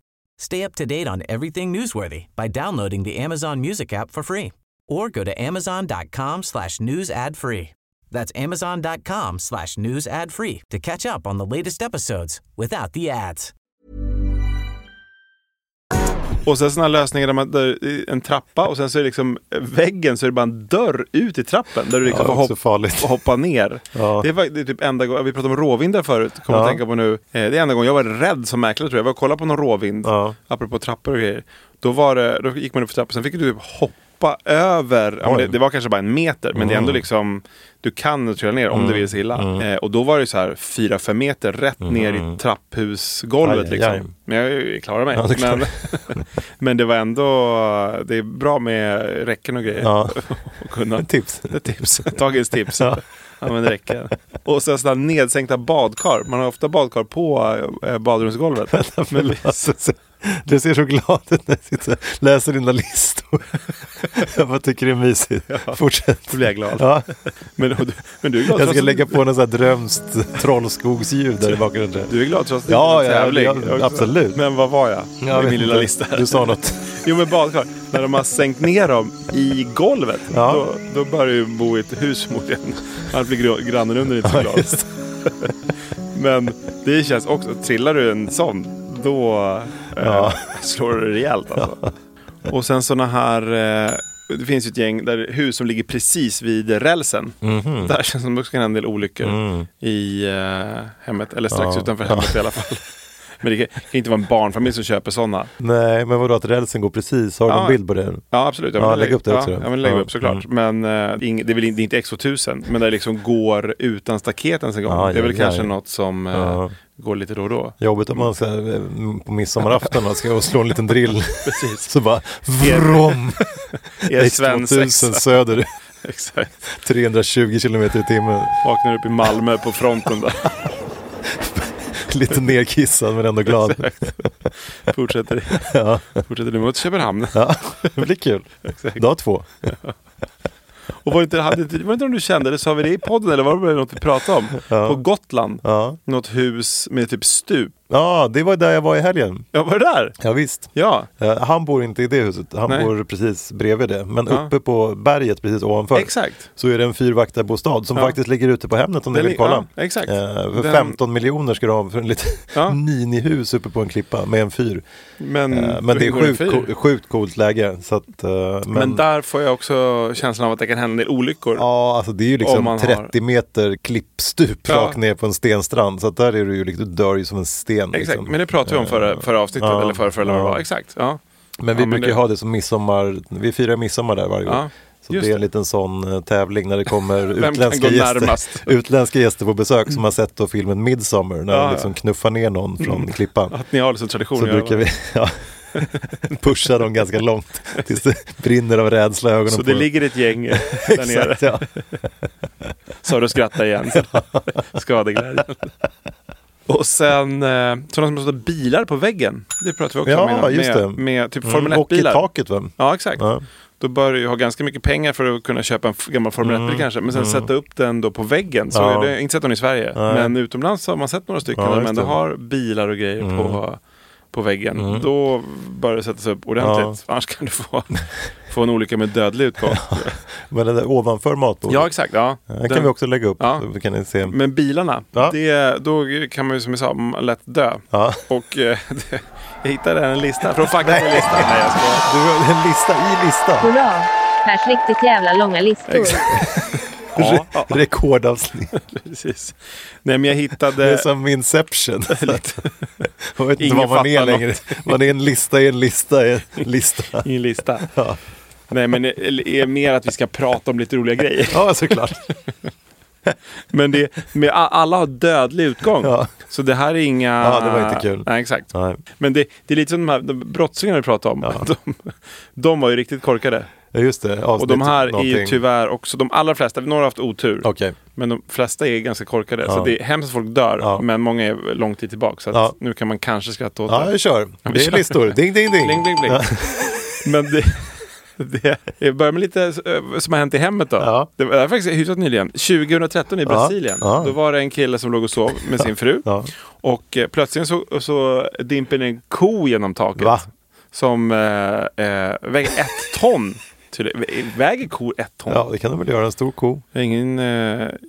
Stay up to date on everything newsworthy by downloading the Amazon Music app for free or go to amazon.com slash news ad free. That's amazon.com slash news ad free to catch up on the latest episodes without the ads. Och sen sådana lösningar där man där, i en trappa och sen så är det liksom väggen så är det bara en dörr ut i trappen där du liksom Ja, får också hopp, farligt. får hoppa ner. Ja. Det, är, fakt- det är typ enda gången, vi pratade om råvindar förut, kommer Ja. att tänka på nu. Eh, Det är enda gången jag var rädd som mäklare tror jag. Jag var och kollade på någon råvind, Ja. apropå trappor och grejer. Då, var det, då gick man upp för trappan, sen fick du typ hoppa över, ja, men Oj. Mm. det, det var kanske bara en meter, men det är ändå liksom, du kan trilla ner om det vill sig illa. Eh, och då var det så här 4-5 meter rätt ner i trapphusgolvet. Mm. Aj, aj, liksom. aj. Men jag klarar mig. Ja, det klarar men, men det var ändå, det är bra med räcken och grejer. Ja. Och kunna. Tips. Det är tips. Dagens tips. Ja. men det räcker. Och sen sådana nedsänkta badkar. Man har ofta badkar på eh, badrumsgolvet. Men vi- Alltså, Du ser så glad ut när jag sitter och läser dina listor. Jag bara tycker det är mysigt. Fortsätt. Då blir jag glad. Ja. men, och du- men du är glad Jag trots ska att- lägga på någon sån här drömskt trollskogsljud där i bakgrunden. Du är glad trots att det Ja, är ja, en tävling. ja, också. absolut. Men vad var jag? Jag I vet min lilla inte. lista. Du sa något. Jo men badkar, när de har sänkt ner dem i golvet, Ja. då, då börjar ju bo i ett hus förmodligen. Annars blir gr- grannen under inte så glad. just men det känns också, trillar du en sån, då eh, slår du rejält alltså. Och sen såna här, eh, det finns ju ett gäng där hus som ligger precis vid rälsen. Mhm. Där känns det som också kan hända en del olyckor Mm. i eh, hemmet, eller strax utanför hemmet i alla fall. Men det kan kan inte vara en barnfamilj som köper sådana. Nej, men vadå att rälsen går precis? Har du Ja. en bild på det? Ja, absolut. Ja, men lägg upp det också Ja, då. ja men lägg Ja. Mm. upp såklart. Men eh, ing, det, är väl, in- det är inte X2000, men där det liksom går utan staket ens en gång. Ja, det är väl ja, kanske ja. något som eh, Ja. går lite då och då. Jobbigt om man ska, eh, på midsommarafton man ska slå en liten drill. Precis. Så bara vrom! Är svensexa. X2000 söderut. Exakt. 320 kilometer i timmen. Vaknar upp i Malmö på fronten där. Lite nerkissad men ändå glad. Fortsätter, Fortsätter du mot Köpenhamn. Ja, det blir kul. Dag två. Och var det, inte, hade, inte- var det inte om du kände, eller sa vi det i podden eller var det något vi pratade om? På Gotland, Ja. något hus med typ stup. Ja, det var där jag var i helgen. Ja, var det där? Ja, visst. Ja, Eh, Han bor inte i det huset, han Nej. bor precis bredvid det. Men Ja. uppe på berget precis ovanför exakt. så är det en fyrvaktarbostad som Ja. faktiskt ligger ute på Hemnet om ni Den vill li- kolla. ja, exakt. Eh, för Den- 15 miljoner ska du ha för en litet Ja. minihus uppe på en klippa med en fyr. Men, Eh, Men det är hur går sjukt, för er? co- sjukt coolt läge. Så att, eh, men, Men, där får jag också känslan av att det kan hända en del olyckor. Ja, alltså det är ju Om liksom man har- 30 meter klippstup Ja. rakt ner på en stenstrand. Så att där är du ju liksom, du dör ju som en sten. Exakt, Liksom. men det pratade vi om förra, förra avsnittet, ja, eller förra, förra eller vad det ja. var. Exakt. Ja. Men vi Ja, men brukar ju det- ha det som midsommar, vi firar midsommar där varje år. Ja, Så det just är en det. liten sån eh, tävling när det kommer kan utländska, gå gäster, närmast? Mm. utländska gäster på besök som har sett då filmen Midsommar när Ja, Mm. de ja. liksom knuffar ner någon från klippan. Att ni har liksom tradition. Så att göra brukar det. vi ja, pusha dem ganska långt tills det brinner av rädsla i ögonen Så på det dem. ligger ett gäng där nere. Exakt, ja. Så du skrattar igen. Skadeglädjen. Och sen, eh, sådana som har satt bilar på väggen. Det pratade vi också Ja, om innan. just med, det. med typ Formel Mm, och i 1-bilar. taket va? Ja, exakt. Ja. Då bör du ju ha ganska mycket pengar för att kunna köpa en f- gammal Formel 1-bil kanske. Men sen sätta upp den då på väggen. Så Mm, Ja. är det, inte sett den i Sverige. Men utomlands har man sett några stycken. Ja, där de just ändå det. Mm. har bilar och grejer på, på väggen. Då bör det sättas upp ordentligt. Annars kan du få, få en olycka med dödlig utgång. Men det där ovanför matbordet. ja, exakt. Ja. Den Den- kan vi också lägga upp. Ja. Då kan ni se. Men bilarna, Ja. det, då kan man ju som jag sa m- lätt dö. Ja. Och eh, det, jag hittade en lista från faktalistan. Nej, jag skojar. Du har en lista i listan. Hurra! Pers riktigt jävla långa listor. Ja, ja, Rekordavsnitt. precis. Nej, men jag hittade... Det är som Inception. Jag vet inte Ingen vad man är fattar längre. Man är en lista i en lista i en lista. Ingen lista. Nej, men det är mer att vi ska prata om lite roliga grejer. Ja, såklart. Men det, med, a- alla har dödlig utgång. Ja. Så det här är inga... Ja, det var inte kul. Nej, exakt. Nej. Men det, det är lite som de här de brottslingarna vi pratade om. De, de var ju riktigt korkade. Ja, Just det, avsnitt Och de här är ju någonting. tyvärr också, de allra flesta, några har haft otur. Okej. Men de flesta är ganska korkade. Så Ja. det är hemskt att folk dör, Ja. men många är lång tid tillbaka. Så att Ja. nu kan man kanske skratta åt Ja, det. jag kör. vi Det är kör. listor. Ding, ding, ding. Bling, bling, bling. Ja. Men det, det, jag börjar med lite eh, som har hänt i hemmet då. Ja. Det var det här är faktiskt hyfsat nyligen. 2013 i Brasilien. Ja. Då var det en kille som låg och sov med sin fru. Ja. Och eh, plötsligt så, så dimper det en ko genom taket. Va? Som eh, eh, väger ett ton. Tydligen. Väger kor ett ton? Ja, det kan de väl göra. En stor ko. Jag är ingen, eh,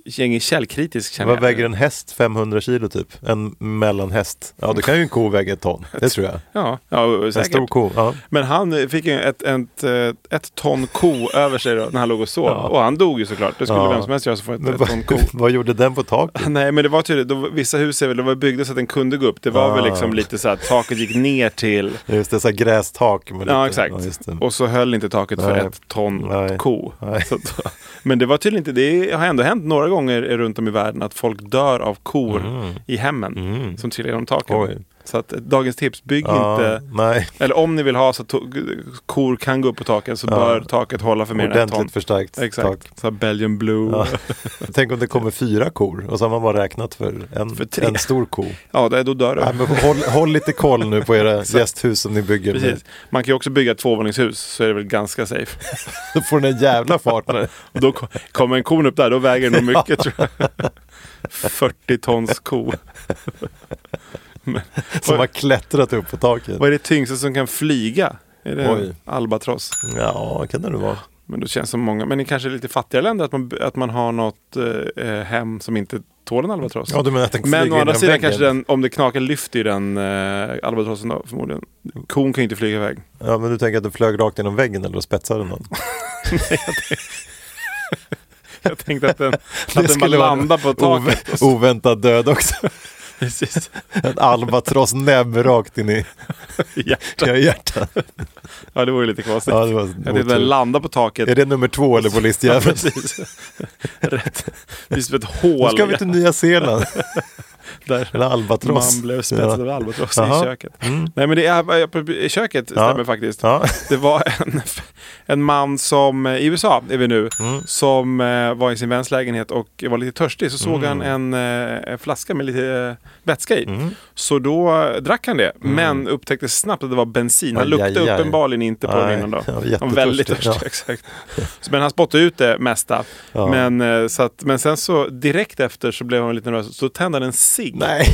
jag är ingen källkritisk känner Vad jag. väger en häst? 500 kilo typ? En mellanhäst? Ja, då kan ju en ko väga ett ton. Det tror jag. Ja, ja En säkert. stor ko. Ja. Men han eh, fick ju ett, ett, eh, ett ton ko över sig då, när han låg och sov. Och han dog ju såklart. Det skulle Ja. vem som helst göra som får ett, Men ett vad, ton ko. vad gjorde den på taket? Nej men det var tydligt, de, vissa hus är väl, de var byggda så att den kunde gå upp. Det var väl liksom lite så att taket gick ner till... Just det, så här grästak. Med lite, Ja exakt. just det. och så höll inte taket Nej. för ett ton Nej. ko. Nej. Så att, men det var tydligen inte, det har ändå hänt några gånger runt om i världen att folk dör av kor i hemmen som trillar genom taket. Mm. Oj. Så att eh, dagens tips, bygg Ja, inte nej, Eller om ni vill ha så att to- kor kan gå upp på taken så bör taket hålla för mer än ett ton. ordentligt förstärkt Exakt, tak. så här Belgian blue. Ja. Ja. Tänk om det kommer fyra kor och så har man bara räknat för en, För tre. en stor ko. det- då dör Nej, du. Äh, men håll, håll lite koll nu på era gästhus som ni bygger. Med. Precis. Man kan ju också bygga ett tvåvåningshus så är det väl ganska safe. Då får den en jävla fart. när- Och då ko- kommer en kon upp där, då väger den nog mycket tror jag. 40 tons ko. som har klättrat upp på taket. Vad är det tyngsta som kan flyga? Är det Oj. en albatross? Ja, kan det nu vara. Men då känns det som många, men i kanske lite fattigare länder att man, att man har något eh, eh, hem som inte tål en albatross. Ja, du menar att den flyger Men å andra genom sidan väggen? kanske den, om det knakar, lyfter ju den eh, albatrossen då, förmodligen. Kon kan ju inte flyga iväg. Ja, men du tänker att den flög rakt genom väggen eller spetsade någon? Jag tänkte att den, att den bara skulle vara landar på taket. Ov- oväntad död också. Precis. En albatross näbb rakt in i I Hjärtat. i hjärtat. Ja, det vore ju lite konstigt. Ja, det var jag tänkte att den otur. landar på taket. Är det nummer två eller på ja, listjäveln? precis. Rätt. Visst ett Nu hål. ska vi till Nya Zeeland. där Eller albatross. man blev spetsad av Ja. albatross Jaha. Mm. i köket. Nej men det är, äh, i köket stämmer faktiskt. Ja. Det var en, en man som, eh, i USA är vi nu, Mm. som eh, var i sin väns lägenhet och var lite törstig. Så såg Mm. han en, eh, en flaska med lite eh, vätska i. Så då eh, drack han det, men upptäckte snabbt att det var bensin. Han Mm. Aj, luktade aj, aj. uppenbarligen inte på den Nej, innan då. han var Han var väldigt jättetörstig, törstig. ja. Exakt. Så, men han spottade ut det mesta. Men, eh, så att, men sen så direkt efter så blev han lite nervös. Så tände han en cigg. Nej.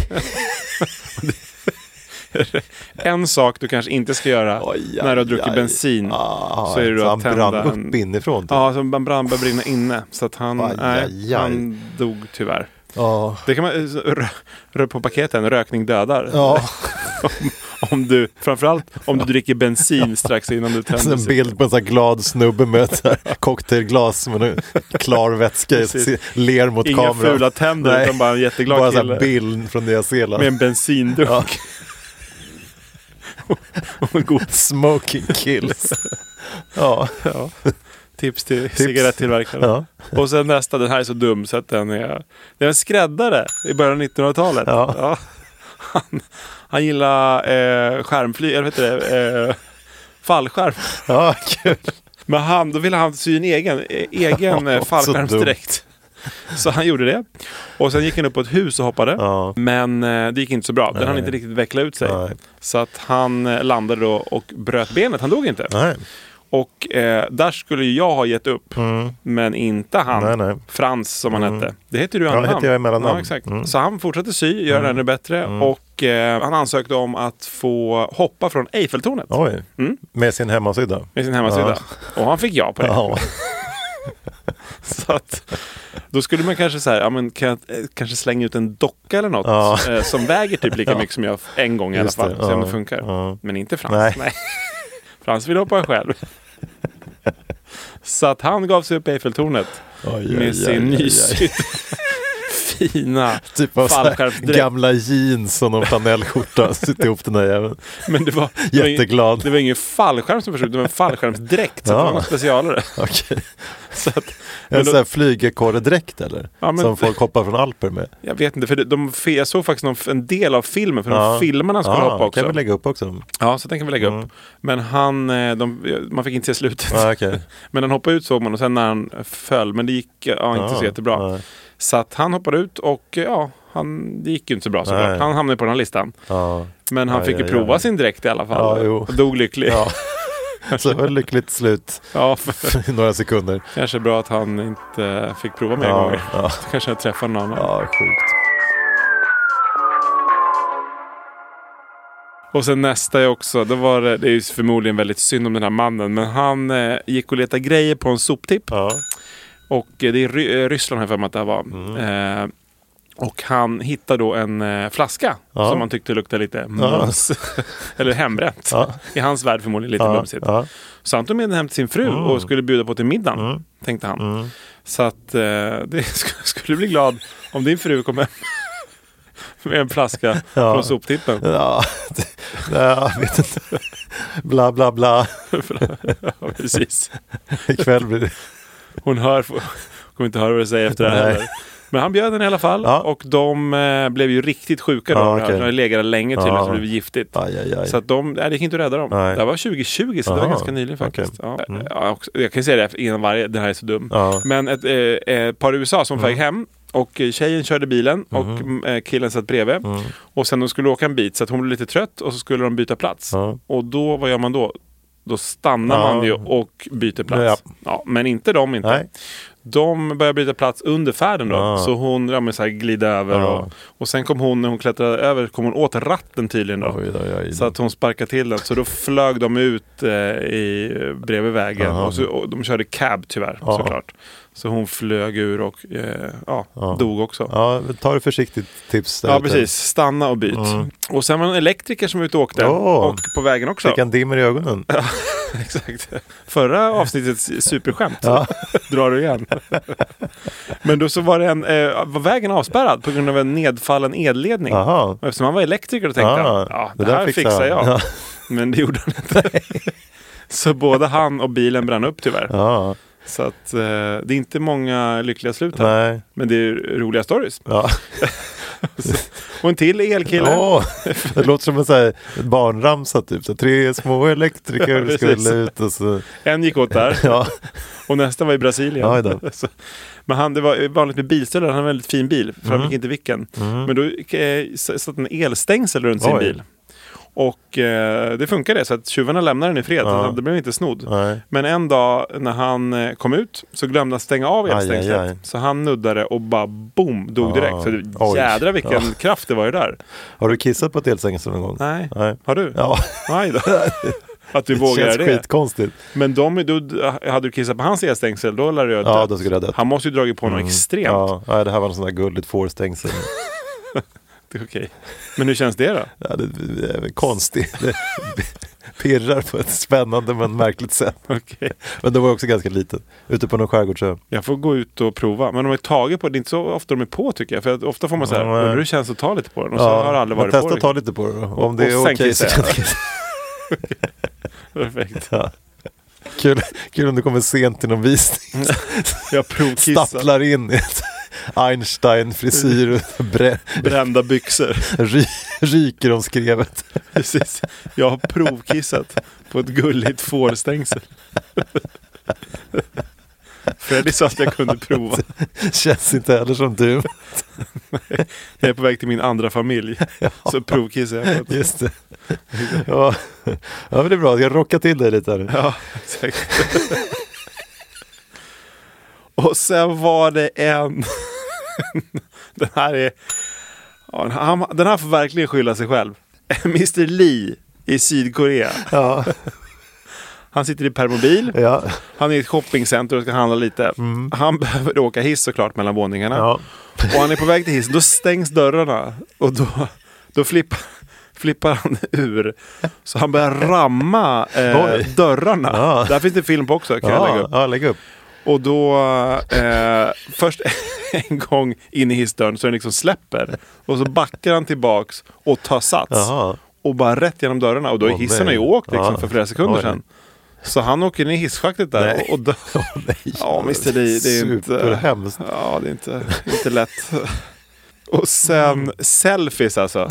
En sak du kanske inte ska göra Oj, när du har aj, druckit aj. bensin. Ah, Mm. så är det då han att tända brann upp en... inifrån. Typ. Ja, så man brann började brinna inne. Så att han, Aj, nej, aj, aj. han dog tyvärr. Ja. Det kan man eh, rö, rö på paketen, rökning dödar. Ja, Om du, framförallt om du dricker bensin strax innan du så tänder Alltså, en sig. bild på en sån här glad snubbe med ett så här cocktailglas med en klar vätska i, Precis. ler mot Inga kameran. fula tänder, Nej. utan bara en jätteglad Bara så kille. här bild från Nya Zeeland. Med en bensindunk. Ja. Och en god Smoking kills. ja. ja. Tips till cigarettillverkare. Ja. Och sen nästa, den här är så dum så att den är... Det är en skräddare i början av 1900-talet. Ja. Han, han gillar eh, skärmfly... Eller vad heter det? Eh, fallskärm. ja, kul. Men han, då ville han sy en egen, eh, egen eh, Så fallskärmsdräkt. Så han gjorde det. Och sen gick han upp på ett hus och hoppade. Ja. Men eh, det gick inte så bra. Den hann Nej. inte riktigt veckla ut sig. Nej. Så att han eh, landade då och bröt benet. Han dog inte. Nej. Och eh, där skulle ju jag ha gett upp. Men inte han. Mm. Nej, nej. Frans som han hette. Det heter du i Ja, andra det heter namn. jag i mellannamn. Ja, exakt. Mm. Så han fortsatte sy, göra det ännu bättre. Och eh, han ansökte om att få hoppa från Eiffeltornet. Oj. Mm. Med sin hemmasida. Med sin hemmasida. Och han fick ja på det. Ja. Så att, då skulle man kanske så här, ja, men kan jag, eh, kanske slänga ut en docka eller något Ja. eh, som väger typ lika mycket som jag f- en gång i Just alla det, fall. Se om ja, det funkar. ja. Men inte Frans. Nej. Frans vill hoppa själv. Så att han gav sig upp i Eiffeltornet Oj, oj, med oj, sin oj, oj. nysydda fina Typ av så här fallskärmsdräkt. gamla jeans och någon flanellskjorta. Sitta ihop den där jäveln. Men det var, det var ingen- Jätteglad. Det var ingen fallskärm som försvann, det var en fallskärmsdräkt. Så Ja. det var något specialare. Okej. Så att, men En då- sån här flygekorredräkt eller? Ja, men- Som folk hoppar från Alper med. jag vet inte, för det- de, fe- jag såg faktiskt någon, f- en del av filmen, för de filmarna skulle hoppa också. kan vi lägga Mm. upp också. Ja, så den kan vi lägga upp. Men han, eh, de, man fick inte se slutet. Ah, okej. Men han hoppade ut såg man och sen när han föll, men det gick ja, inte Ah, så jättebra. nej. Så att han hoppade ut och eh, ja, han, det gick ju inte så bra såklart. Nej. Han hamnade på den här listan. Ja. Men han Aj, fick ju aj, prova aj. sin dräkt i alla fall. Ja, jo. och dog lycklig. Ja, ja. Så det var ett lyckligt slut för, i några sekunder. kanske bra att han inte eh, fick prova mer Ja, gånger. ja. Då kanske jag träffar någon annan. Ja, sjukt. Och sen nästa är också, det, var, det det är ju förmodligen väldigt synd om den här mannen, men han eh, gick och letade grejer på en soptipp. Ja. Och eh, det är Ry- eh, Ryssland har jag för mig att det här var. Mm. Eh, och han hittar då en eh, flaska Ja. som han tyckte luktade lite mums. Eller hembränt. Ja. I hans värld förmodligen lite Ja, mumsigt. ja. Mm. Så han tog med den hem till sin fru och skulle bjuda på till middagen. Tänkte han. Så att eh, det sk- skulle bli glad om din fru kom hem med en flaska Ja. från soptippen. Ja, det- nej, jag vet inte. Bla, bla, bla. Ja, precis. Ikväll blir det... Hon hör, kommer inte höra vad du säger efter det här Nej. heller. Men han bjöd henne i alla fall Ja. och de eh, blev ju riktigt sjuka då. Ja, av det här. okej. De hade legat där länge tydligen Ja. så det blev giftigt. Aj, aj, aj. Så att de, nej, det gick inte att rädda dem. Nej. Det här var 2020 så det var Aha, ganska nyligen faktiskt. okej. Mm. Ja. Ja, också, jag kan ju säga det här innan varje, det här är så dum. Ja. Mm. Men ett eh, eh, par i USA som flög hem och eh, tjejen körde bilen och mm, eh, killen satt bredvid. Mm. Och sen de skulle åka en bit så att hon blev lite trött och så skulle de byta plats. Ja. Och då, vad gör man då? Då stannar Ja. man ju och byter plats. Ja. men inte de inte. Nej. De började byta plats under färden då. Ja. Så hon ja, men så här glider över. Ja. Och, och sen kom hon, när hon klättrade över, kom hon åt ratten tydligen då. Oj, oj, oj. Så att hon sparkade till den. Så då flög de ut eh, i, bredvid vägen. Aha. Och, så, och de körde cab tyvärr Ja. såklart. Så hon flög ur och eh, ja, Ja. dog också. Ja, ta det försiktigt tips. där Ja ute. precis, stanna och byt. Och sen var det en elektriker som var ute och åkte. Åh. Och på vägen också. Fick han dimmer i ögonen? Exakt. Förra avsnittets superskämt Ja. drar du igen. Men då så var, det en, eh, var vägen avspärrad på grund av en nedfallen elledning. Aha. Och eftersom han var elektriker då tänkte Ah, han, ja, det, det där här fixar fixar jag. han." Ja. Men det gjorde han inte. så både han och bilen brann upp tyvärr. Ja, Så att, eh, det är inte många lyckliga slut här. nej. Men det är roliga stories. Ja. Och en till elkille. Ja, det låter som en så här barnramsa typ. Så tre små elektriker Ja, precis. skulle ut och så... En gick åt där. Ja, Och nästa var i Brasilien. Oj då. Så- men han, det var vanligt med bilstölder, han hade en väldigt fin bil, för Mm. han fick inte vilken. Men då eh, s- satt en elstängsel runt sin Oj. bil. Och eh, det funkade så att tjuvarna lämnade den i fred, Ja. ja. det blev inte snodd. nej. Men en dag när han eh, kom ut så glömde han stänga av Aj, aj, elstängslet. aj. Så han nuddade och bara boom, dog Ah, direkt. Så det, oj. jädra vilken Ja. kraft det var ju där. Har du kissat på ett elsängsel någon gång? Nej, Nej. har du? Ja, Nej då. Att du det vågar känns göra det. skitkonstigt. Men de, då, hade du kissat på hans elstängsel, då lär du ha Ja, dött. då skulle jag ha dött. Mm. Han måste ju dragit på något extremt. Ja, nej, det här var en sån där gulligt fårstängsel. Det är okej. Men hur känns det då? Ja, det, det är konstigt. Det pirrar på ett spännande men märkligt sätt. Okej. Men det var också ganska litet. Ute på någon skärgårdsö. Jag får gå ut och prova. Men de har ju tagit på det. är inte så ofta de är på tycker jag. För att ofta får man så här, Ja, nej. undrar hur det känns att ta lite på den. Och så har det aldrig men varit testa på att ta lite på det då. Om det och är sen okej så kissar kan jag. du kissa. Perfekt. Ja. Kul, kul om du kommer sent till någon visning. Jag provkissar. Stapplar in i ett Einstein-frisyr och brä- Brända byxor. ry, ryker om skrevet. Precis. Jag har provkissat på ett gulligt fårstängsel. Freddy sa att jag kunde prova. Känns inte heller som du. Jag är på väg till min andra familj. Så provkissar jag på ett Just det. Ja, ja men det är bra. Jag rockar till dig lite här nu. Ja, exakt. och sen var det en... den här är... Ja, den här- den här får verkligen skylla sig själv. Mr Lee i Sydkorea. Ja, Han sitter i permobil. ja, Han är i ett shoppingcenter och ska handla lite. Han behöver åka hiss såklart mellan våningarna. Mm. ja. Och han är på väg till hissen, då stängs dörrarna. Och då, då flippar, flippar han ur. Så han börjar ramma eh, Oj. dörrarna. Ja. Där finns det film på också, kan jag lägga ja, upp. ja lägg upp. Och då, eh, först en gång in i hissdörren så den liksom släpper. Och så backar han tillbaks och tar sats. Jaha. Och bara rätt genom dörrarna. Och då är Åh, hissen nej. ju åkt liksom, Ja. för flera sekunder Oj. sedan. Så han åker in i hisschaktet där Nej. och, och dör. nej. Ja, Mr. Lee, det är inte... Superhemskt. Ja, det är inte, inte lätt. Och sen Mm. selfies alltså.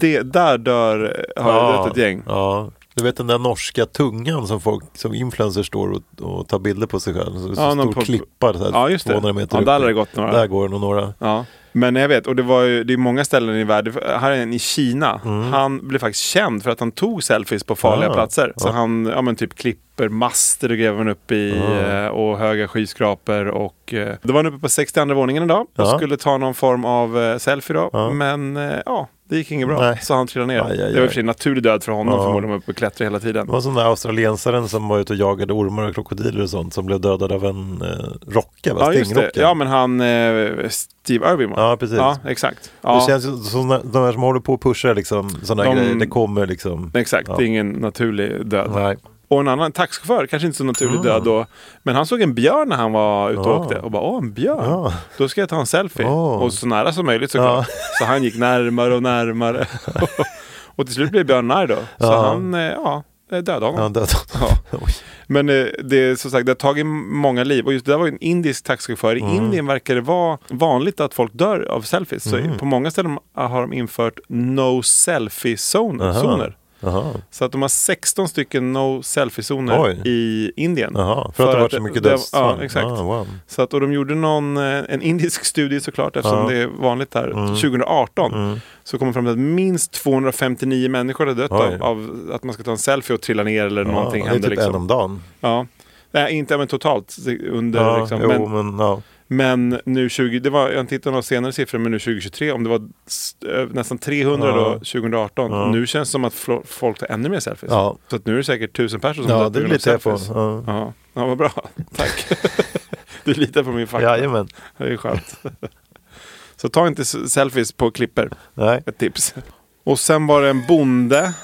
Det, där dör, har jag dött ett gäng. Ja. Du vet den där norska tungan som folk som influencers står och, och tar bilder på sig själv. Så, Ja, så någon stor pop- klippa så här, Ja, just det. 200 meter Ja, upp. där har det gått några. Där går det nog några. Ja. Men jag vet, och det, var ju, det är många ställen i världen. Här är en i Kina. Han blev faktiskt känd för att han tog selfies på farliga Mm. Ah, platser. Så han ja, men typ klipper master och gräver han upp i Ah. eh, och höga skyskrapor. Och, eh, då var han uppe på 62 våningen idag och Ja. skulle ta någon form av eh, selfie då. Ja. Men eh, ja, det gick inget bra. Nej. Så han trillade ner. Aj, aj, Det var i och aj. för sig en naturlig död för honom Ja. förmodligen. Han var uppe och klättrade hela tiden. Det var som den där australiensaren som var ute och jagade ormar och krokodiler och sånt som blev dödad av en eh, rocka, va? Ja, just det. Stingrocka. Ja, men han eh, Steve Irwin va? Ja, precis. Ja, exakt. Ja. Det känns ju som när- de här som håller på och pushar liksom, sådana De- grejer, det kommer liksom. Exakt, Ja. det är ingen naturlig död. Nej. Ah. Och en annan taxichaufför, kanske inte så naturlig död då. Men han såg en björn när han var ute och Ja. åkte och bara åh en björn, Ja. då ska jag ta en selfie. Ja. Och så nära som möjligt Ah. såklart. Så han gick närmare och närmare. och till slut blev björn arg då. Så Ja. han eh, ja, dödade honom. Han dödade honom. Ja. Oj. Men eh, det är som sagt, det har tagit många liv. Och just det där var ju en indisk taxichaufför. Mm. I Indien verkar det vara vanligt att folk dör av selfies. Mm. Så på många ställen har de infört no Aha. selfie-zoner. Jaha. Så att de har 16 stycken no Oj. selfie-zoner i Indien. Jaha. För, att det varit så mycket det- dödsfall. Ja, exakt. Ah, wow. Så att, och de gjorde någon, eh, en indisk studie såklart, eftersom Ja. Mm. det är vanligt där, 2018. Så kom de fram till att minst 259 människor hade dött Oj. av, av att man ska ta en selfie och trilla ner eller Ja, någonting det är hände. typ liksom. en om dagen. Ja. Nej, inte men totalt. Under, Ja, liksom. jo, men, men, ja. men nu 20, det var, jag tittade några senare siffror, men nu 2023, om det var s- ö- nästan 300 då, Ja. 2018. Ja. Nu känns det som att fl- folk tar ännu mer selfies. Ja. Så att nu är det säkert tusen personer som ja, dött det på är grund av lite jag på. selfies. Ja. Ja. ja, vad bra. Tack. du litar på min fakta. Jajamän. Det är skönt. Så ta inte s- selfies på klipper. Nej. Ett tips. Och sen var det en bonde.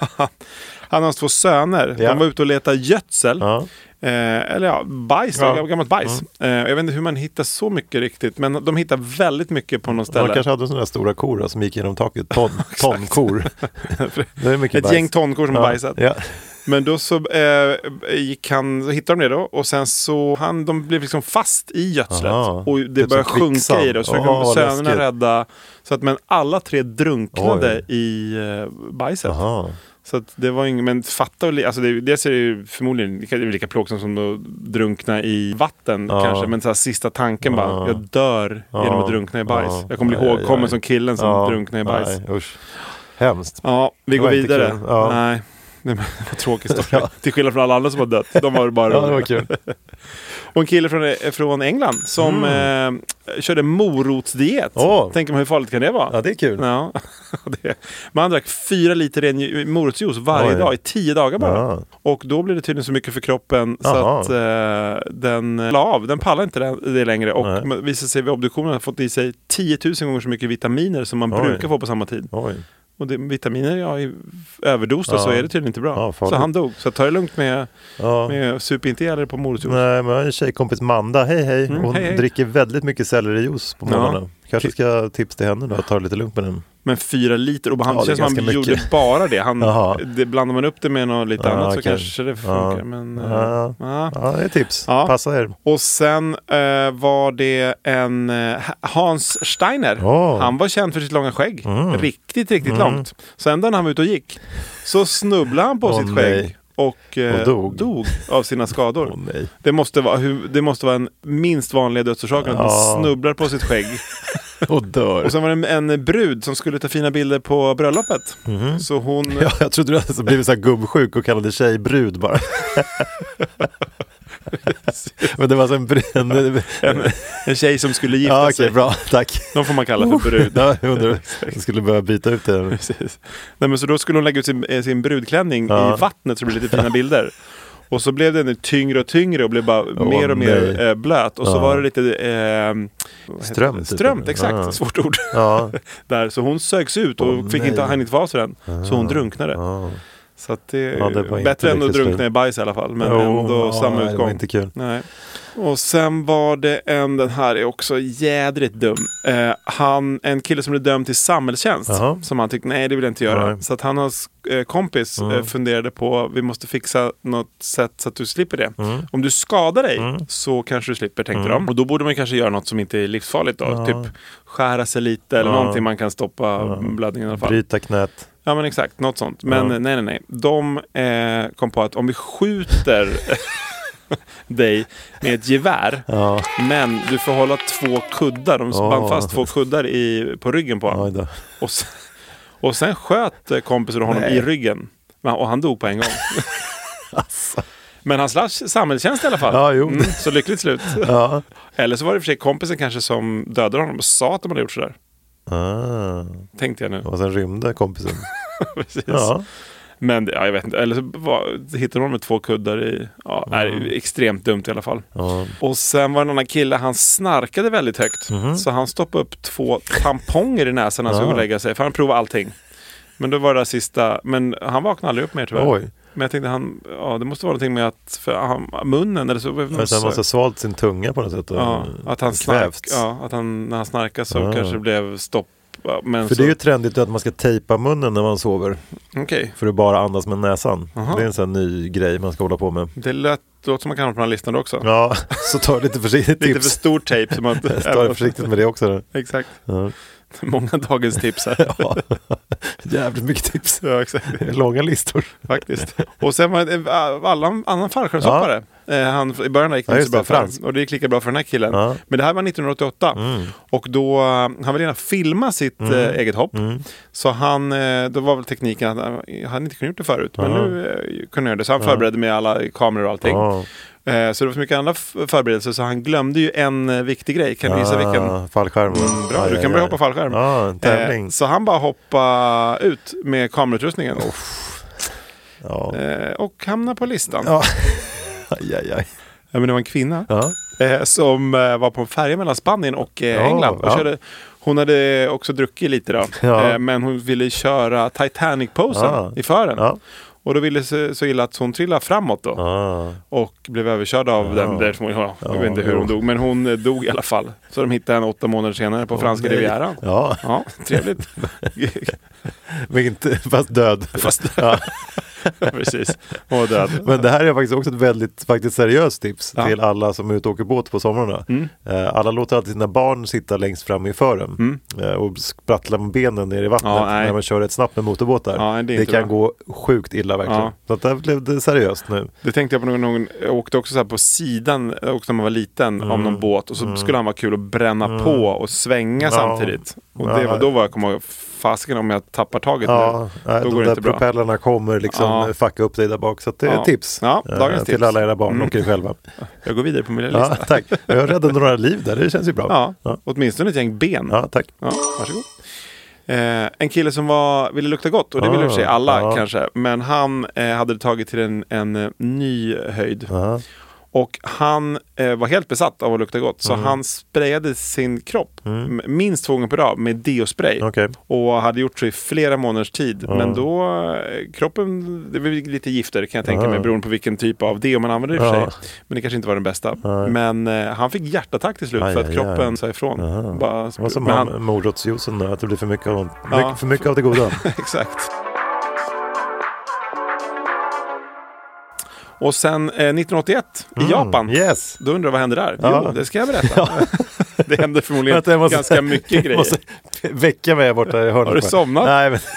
Han har hans två söner. Ja. De var ute och letade gödsel. Ja. Eh, eller ja, bajs, Ja. då, gammalt bajs. Eh, jag vet inte hur man hittar så mycket riktigt, men de hittar väldigt mycket på något De ställe. kanske hade sådana där stora kor då, som gick genom taket. Ton, tonkor. det är mycket Ett bajs. gäng tonkor som ja. bajsat. Ja. Men då så eh, gick han, så hittade de det då och sen så han, de blev liksom fast i gödslet. Aha. Och Typ det som började sjunka kvicksand. i det och så fick Åh, de vad sönerna läskigt. rädda. Så att men alla tre drunknade Oj. i eh, bajset. Aha. Så att det var ingen, men fatta och li- alltså det, dels är det ju förmodligen lika, det är lika plågsamt som att drunkna i vatten Ja. kanske. Men så här, sista tanken bara, Ja. jag dör Ja. genom att drunkna i bajs. Ja. Jag kommer bli Aj, aj, ihågkommen aj. som killen som Ja, drunknade i bajs. Nej, usch. Hemskt. Ja, vi Det går var inte vidare. kul. Ja. Nej, det var tråkig historia. Till skillnad från alla andra som har dött. De var bara Ja, det var kul. Och en kille från, eh, från England som eh, körde morotsdiet. Mm. Åh. Tänk om hur farligt kan det vara? Ja, det är kul. Ja, det. Man drack fyra liter ren ju- morotsjuice varje Oj. dag i tio dagar bara. Ja. Och då blev det tydligen så mycket för kroppen Jaha. så att eh, den la av. Den pallar inte det, det längre och Nej. man- visar sig vid obduktionen ha fått i sig 10 000 gånger så mycket vitaminer som man Oj. brukar få på samma tid. Oj. Och det, vitaminer, ja, i överdos då, Ja. så är det tydligen inte bra. Ja, farligt. så han dog. Så ta det lugnt med, Ja. med sup inte ihjäl er på morotsjuice. Nej, men jag har en tjejkompis, Manda, hej hej. Mm, Hon hej, hej. dricker väldigt mycket sellerijuice på Ja. morgonen. Kanske ska jag tipsa till henne då, att ta det lite lugnt med den. Men fyra liter, och han Ja, det är känns som han ganska gjorde mycket. bara det. Han, Jaha. det. Blandar man upp det med något lite Ja, annat så okej. kanske det funkar. Ja. Men, eh, Ja. ja. Ja, det är tips. Ja. Passa er. Och sen eh, var det en eh, Hans Steiner. Åh. Han var känd för sitt långa skägg. Mm. Riktigt, riktigt långt. Sen när han var ute och gick så snubblade han på Åh, sitt skägg. nej. Och, eh, Och dog. av sina skador. Åh, nej. det, måste vara, hu- det måste vara en minst vanliga dödsorsaken, att Ja. man snubblar på sitt skägg. Och dör. Och sen var det en, en brud som skulle ta fina bilder på bröllopet. Så hon... Mhm. Ja, jag trodde du hade blivit så här gubbsjuk och kallade tjej brud bara. Men det var så en brud. En, en tjej som skulle gifta Ja, okej, sig. bra. Tack. De får man kalla för brud. Ja, jag undrar, jag skulle börja byta ut det. Precis. Nej, men så då skulle hon lägga ut sin, eh, sin brudklänning Ja. i vattnet så det blev lite fina bilder. Och så blev den ju tyngre och tyngre och blev bara mer och mer nej. eh, blöt. Och så Ja. var det lite... Eh, vad heter Strömt, det? typ. Strömt, exakt. Ja. Svårt ord. Ja, Där. Så hon sögs ut och Åh, fick nej. Ah. inte, hann inte vara så den. Så hon drunknade. ja. Så att det är Ja, det var inte bättre än att lyckligt drunkna slut. i bajs i alla fall. Men Jo, ändå ja, samma nej, utgång. Det var inte kul. Nej. Och sen var det en, den här är också jädrigt dum. Eh, han, en kille som blev dömd till samhällstjänst. Jaha. Som han tyckte, nej det vill jag inte göra. Nej. Mm. Så att han och hans eh, kompis eh, funderade på, vi måste fixa något sätt så att du slipper det. Mm. Om du skadar dig så kanske du slipper, tänkte de. Och då borde man kanske göra något som inte är livsfarligt då. Typ skära sig lite eller någonting man kan stoppa blödningen i alla fall. Bryta knät. Ja men exakt, något sånt. Men Ja. nej nej nej. De eh, kom på att om vi skjuter dig med ett gevär. Ja, Men du får hålla två kuddar, de Ja. band fast två kuddar i, på ryggen på oj honom. då. Och, sen, och sen sköt eh, kompisen honom i ryggen. Men- Och han dog på en gång. Men han slapp samhällstjänst i alla fall. Alltså. Mm, Ja, jo. så lyckligt slut. Ja. Eller så var det i och för sig kompisen kanske som dödade honom och sa att de hade gjort sådär. Ah. Tänkte jag nu. Och sen rymde kompisen. Precis. Ja. Men det- ja, jag vet inte, eller så var, hittade de med två kuddar i. Ja, nej, extremt dumt i alla fall. Ja. Och sen var det en annan kille, han snarkade väldigt högt. Mhm. Så han stoppade upp två tamponger i näsan när han skulle gå och lägga sig. För han provade allting. Men då var det där sista, men han vaknade aldrig upp mer tyvärr. Oj. Men jag tänkte han, ja det måste vara någonting med att, för han, munnen eller så. Men sen måste ha svalt sin tunga på något sätt. och ja, att han snark, kvävts. ja, att han, när han snarkade så Ja. kanske det blev stopp. Ja, Men För så, det är ju trendigt att man ska tejpa munnen när man sover. Okej, För att bara andas med näsan. Aha. Det är en sån här ny grej man ska hålla på med. det lät, låter som man kan ha på den här listan också. Ja, så ta det lite försiktigt Lite för tips. stor tejp. som man- Ta det försiktigt med det också. Då. Exakt. Ja. Många dagens tips här. Ja. Jävligt mycket tips. ja, exakt. Långa listor. Faktiskt. Och sen var det en äh, alla, annan fallskärmshoppare. Eh, Han, I början gick det inte Ja, så just bra det, för Frans. honom. Och det gick lika bra för den här killen. Ja. Mm. Men det här var 1988. Och då, eh, han ville gärna filma sitt eh, eget hopp. Mm. Så han, eh, då var väl tekniken att han han inte kunde gjort det förut. Men nu eh, kunde han göra det. Så han förberedde med alla kameror och allting. Ja. Eh, Så det var så mycket andra f- förberedelser. Så han glömde ju en eh, viktig grej. Kan du gissa vilken? Ah, Fallskärm. Bra, Aj, du aj, kan börja aj. hoppa fallskärm. Ja, en tävling. Eh, så han bara hoppa ut med kamerautrustningen. Ja. Eh, och hamna på listan. Ja. Ja. Aj, aj, aj. men det var en kvinna Ja. eh, som eh, var på en färja mellan Spanien och eh, Ja, England. Och ja. körde, hon hade också druckit lite då. Ja. Eh, men hon ville köra Titanic-posen Ja. i fören. Ja. Och då ville så, så illa att hon trillade framåt då. Ah. Och blev överkörd av den där som hon, ja, jag Ja, vet inte hur hon jo. dog. Men hon eh, dog i alla fall. Så de hittade henne åtta månader senare på franska nej. rivieran. Ja, Ja, trevligt. men inte, fast död. Fast- ja. Precis, och död. Men det här är faktiskt också ett väldigt faktiskt seriöst tips Ja. Mm. till alla som är ute och åker båt på somrarna. Eh, Alla låter alltid sina barn sitta längst fram i fören eh, och sprattla med benen ner i vattnet Mm. Ja, nej. när man kör rätt snabbt med motorbåtar. Ja, det är inte kan bra. gå sjukt illa verkligen. Ja. Så att det här blev det seriöst nu. Det tänkte jag på någon gång, jag åkte också så här på sidan, jag åkte när man var liten, om Mm. någon båt och så skulle han vara kul att bränna på och svänga samtidigt. Och det var, då var jag, kommer jag ihåg, fasiken om jag tappar taget Ja, nu, nej, då de går det där inte bra. propellerna kommer liksom Ja. fucka upp dig där bak. Så att det är Ja. ett tips Ja, eh, dagens till tips. alla era barn Mm. och er själva. Jag går vidare på min lilla Ja, lista. tack. Jag räddade några liv där, det känns ju bra. Ja, ja. åtminstone ett gäng ben. ja tack. Ja, varsågod. Eh, en kille som var, ville lukta gott, och det Ah, vill i och för sig alla ja. kanske, men han eh, hade det tagit till en, en eh, ny höjd. Och han eh, var helt besatt av att lukta gott, Mm. så han sprayade sin kropp m- minst två gånger per dag med deospray. Okej. Och hade gjort så i flera månaders tid. Men då, eh, kroppen, det blev lite gifter kan jag tänka mig, beroende på vilken typ av deo man använde i och för sig. Ja. Men det kanske inte var den bästa. Men eh, han fick hjärtattack till slut Aj, för att aj, aj. kroppen sa ifrån. Bara, Det var som men han, han- med morotsjuicen där, att det blir för mycket av, Ja. mycket, för mycket av det goda. Exakt. Och sen eh, 1981 i Japan. Mm, Yes! Då undrar jag vad händer där? Ja. Jo, det ska jag berätta. det händer förmodligen Vänta, jag måste- ganska mycket jag grejer. måste väcka mig här borta i hörnet. Har du somnat? Nej, men...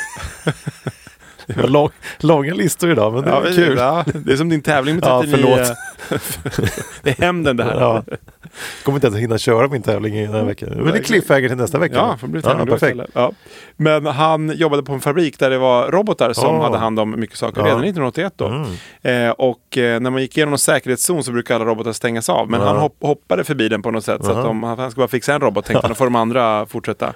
Det var lång, långa listor idag, men det Ja, var vi- kul. ja, det är som din tävling med Ja, 39. förlåt. det är hämnden det här. Ja. Kommer inte ens hinna köra min tävling i den här veckan. Men det är cliffhanger till nästa vecka. Ja, får bli tävling då perfekt. istället. Ja. Men han jobbade på en fabrik där det var robotar som Ah. hade hand om mycket saker Ja. Mm. redan 1981. Då. Eh, och eh, när man gick igenom en säkerhetszon så brukade alla robotar stängas av. Men han hopp, hoppade förbi den på något sätt. Så att de, han skulle bara fixa en robot tänkte han, då får de andra fortsätta.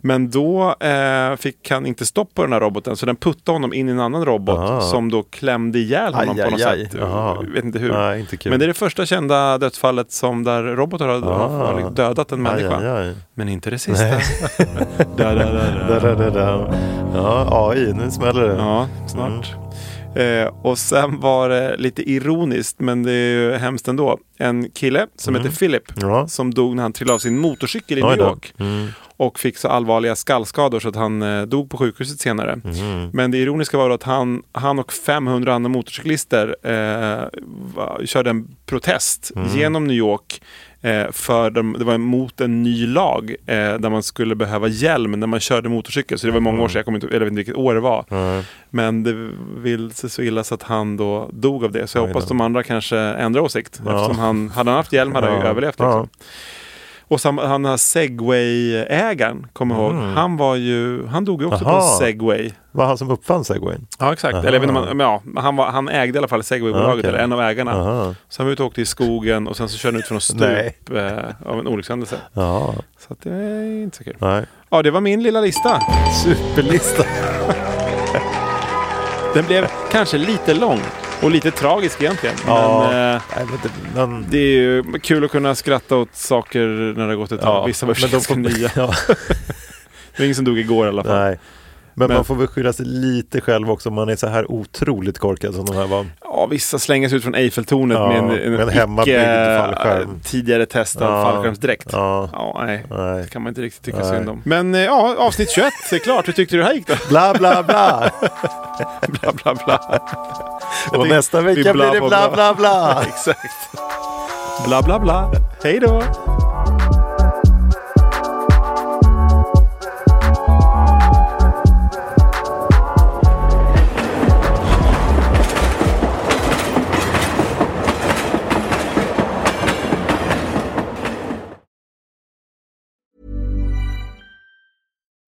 Men då eh, fick han inte stopp på den här roboten så den puttade honom in i en annan robot som då klämde ihjäl honom Aj, på något aj, aj. sätt. Ja. Jag Vet inte hur. Nej, inte kul. Men det är det första kända dödsfallet som där robotar har, har dödat en människa. Ah. Aj, aj, aj. Men inte det sista. da, da, da, da. Da, da, da, da. Ja, AI, nu smäller det. Ja, snart. Mm. Eh, och sen var det lite ironiskt, men det är ju hemskt ändå. En kille som heter Philip Mm. Ja. som dog när han trillade av sin motorcykel i Oj New då. York. Mm. Och fick så allvarliga skallskador så att han eh, dog på sjukhuset senare. Mm. Men det ironiska var då att han, han och 500 andra motorcyklister eh, va, körde en protest Mm. genom New York eh, för de, det var emot en ny lag eh, där man skulle behöva hjälm när man körde motorcykel. Så det var Mm. många år sedan, jag, kommer inte, eller jag vet inte vilket år det var. Men det vill sig så illa så att han då dog av det. Så jag hoppas de andra kanske ändrar åsikt. Eftersom han, hade han haft hjälm hade han ju Ja. överlevt. Ja. Liksom. Och sam, han här segway-ägaren, kommer jag ihåg. Han, var ju, han dog ju också på Mm. Aha. en segway. Var han som uppfann segwayn? Ja, exakt. Eller jag vet inte om han, men ja, men han, var, han ägde i alla fall segwaybolaget, Okej. eller en av ägarna. Aha. Så han var ute och åkte i skogen och sen så körde han ut från något stup eh, av en olyckshändelse. Ja, Så att det är inte så kul. nej. Ja, det var min lilla lista. Superlista. Den blev kanske lite lång och lite tragisk egentligen. Ja. Men, eh, Nej, men det, men, det är ju kul att kunna skratta åt saker när det har gått ett tag. Vissa var men de får- ganska nya. Ja, Det var ingen som dog igår i alla fall. nej. Men, Men- man får väl skylla sig lite själv också om man är så här otroligt korkad som de här var. Ja, vissa slängas ut från Eiffeltornet Ja, med en, en, med en hemmabyggd icke- eh, fallskärm. tidigare testad Ja, fallskärmsdräkt. ja. nej. Nej. Det kan man inte riktigt tycka Nej. synd om. Men eh, ja, avsnitt 21 är klart. Hur tyckte du det här gick då? Bla, bla, bla. bla, bla, bla. Och Vi- nästa vi vecka blir det bla, bla, bla. Exakt. Bla, bla, bla. Hej då!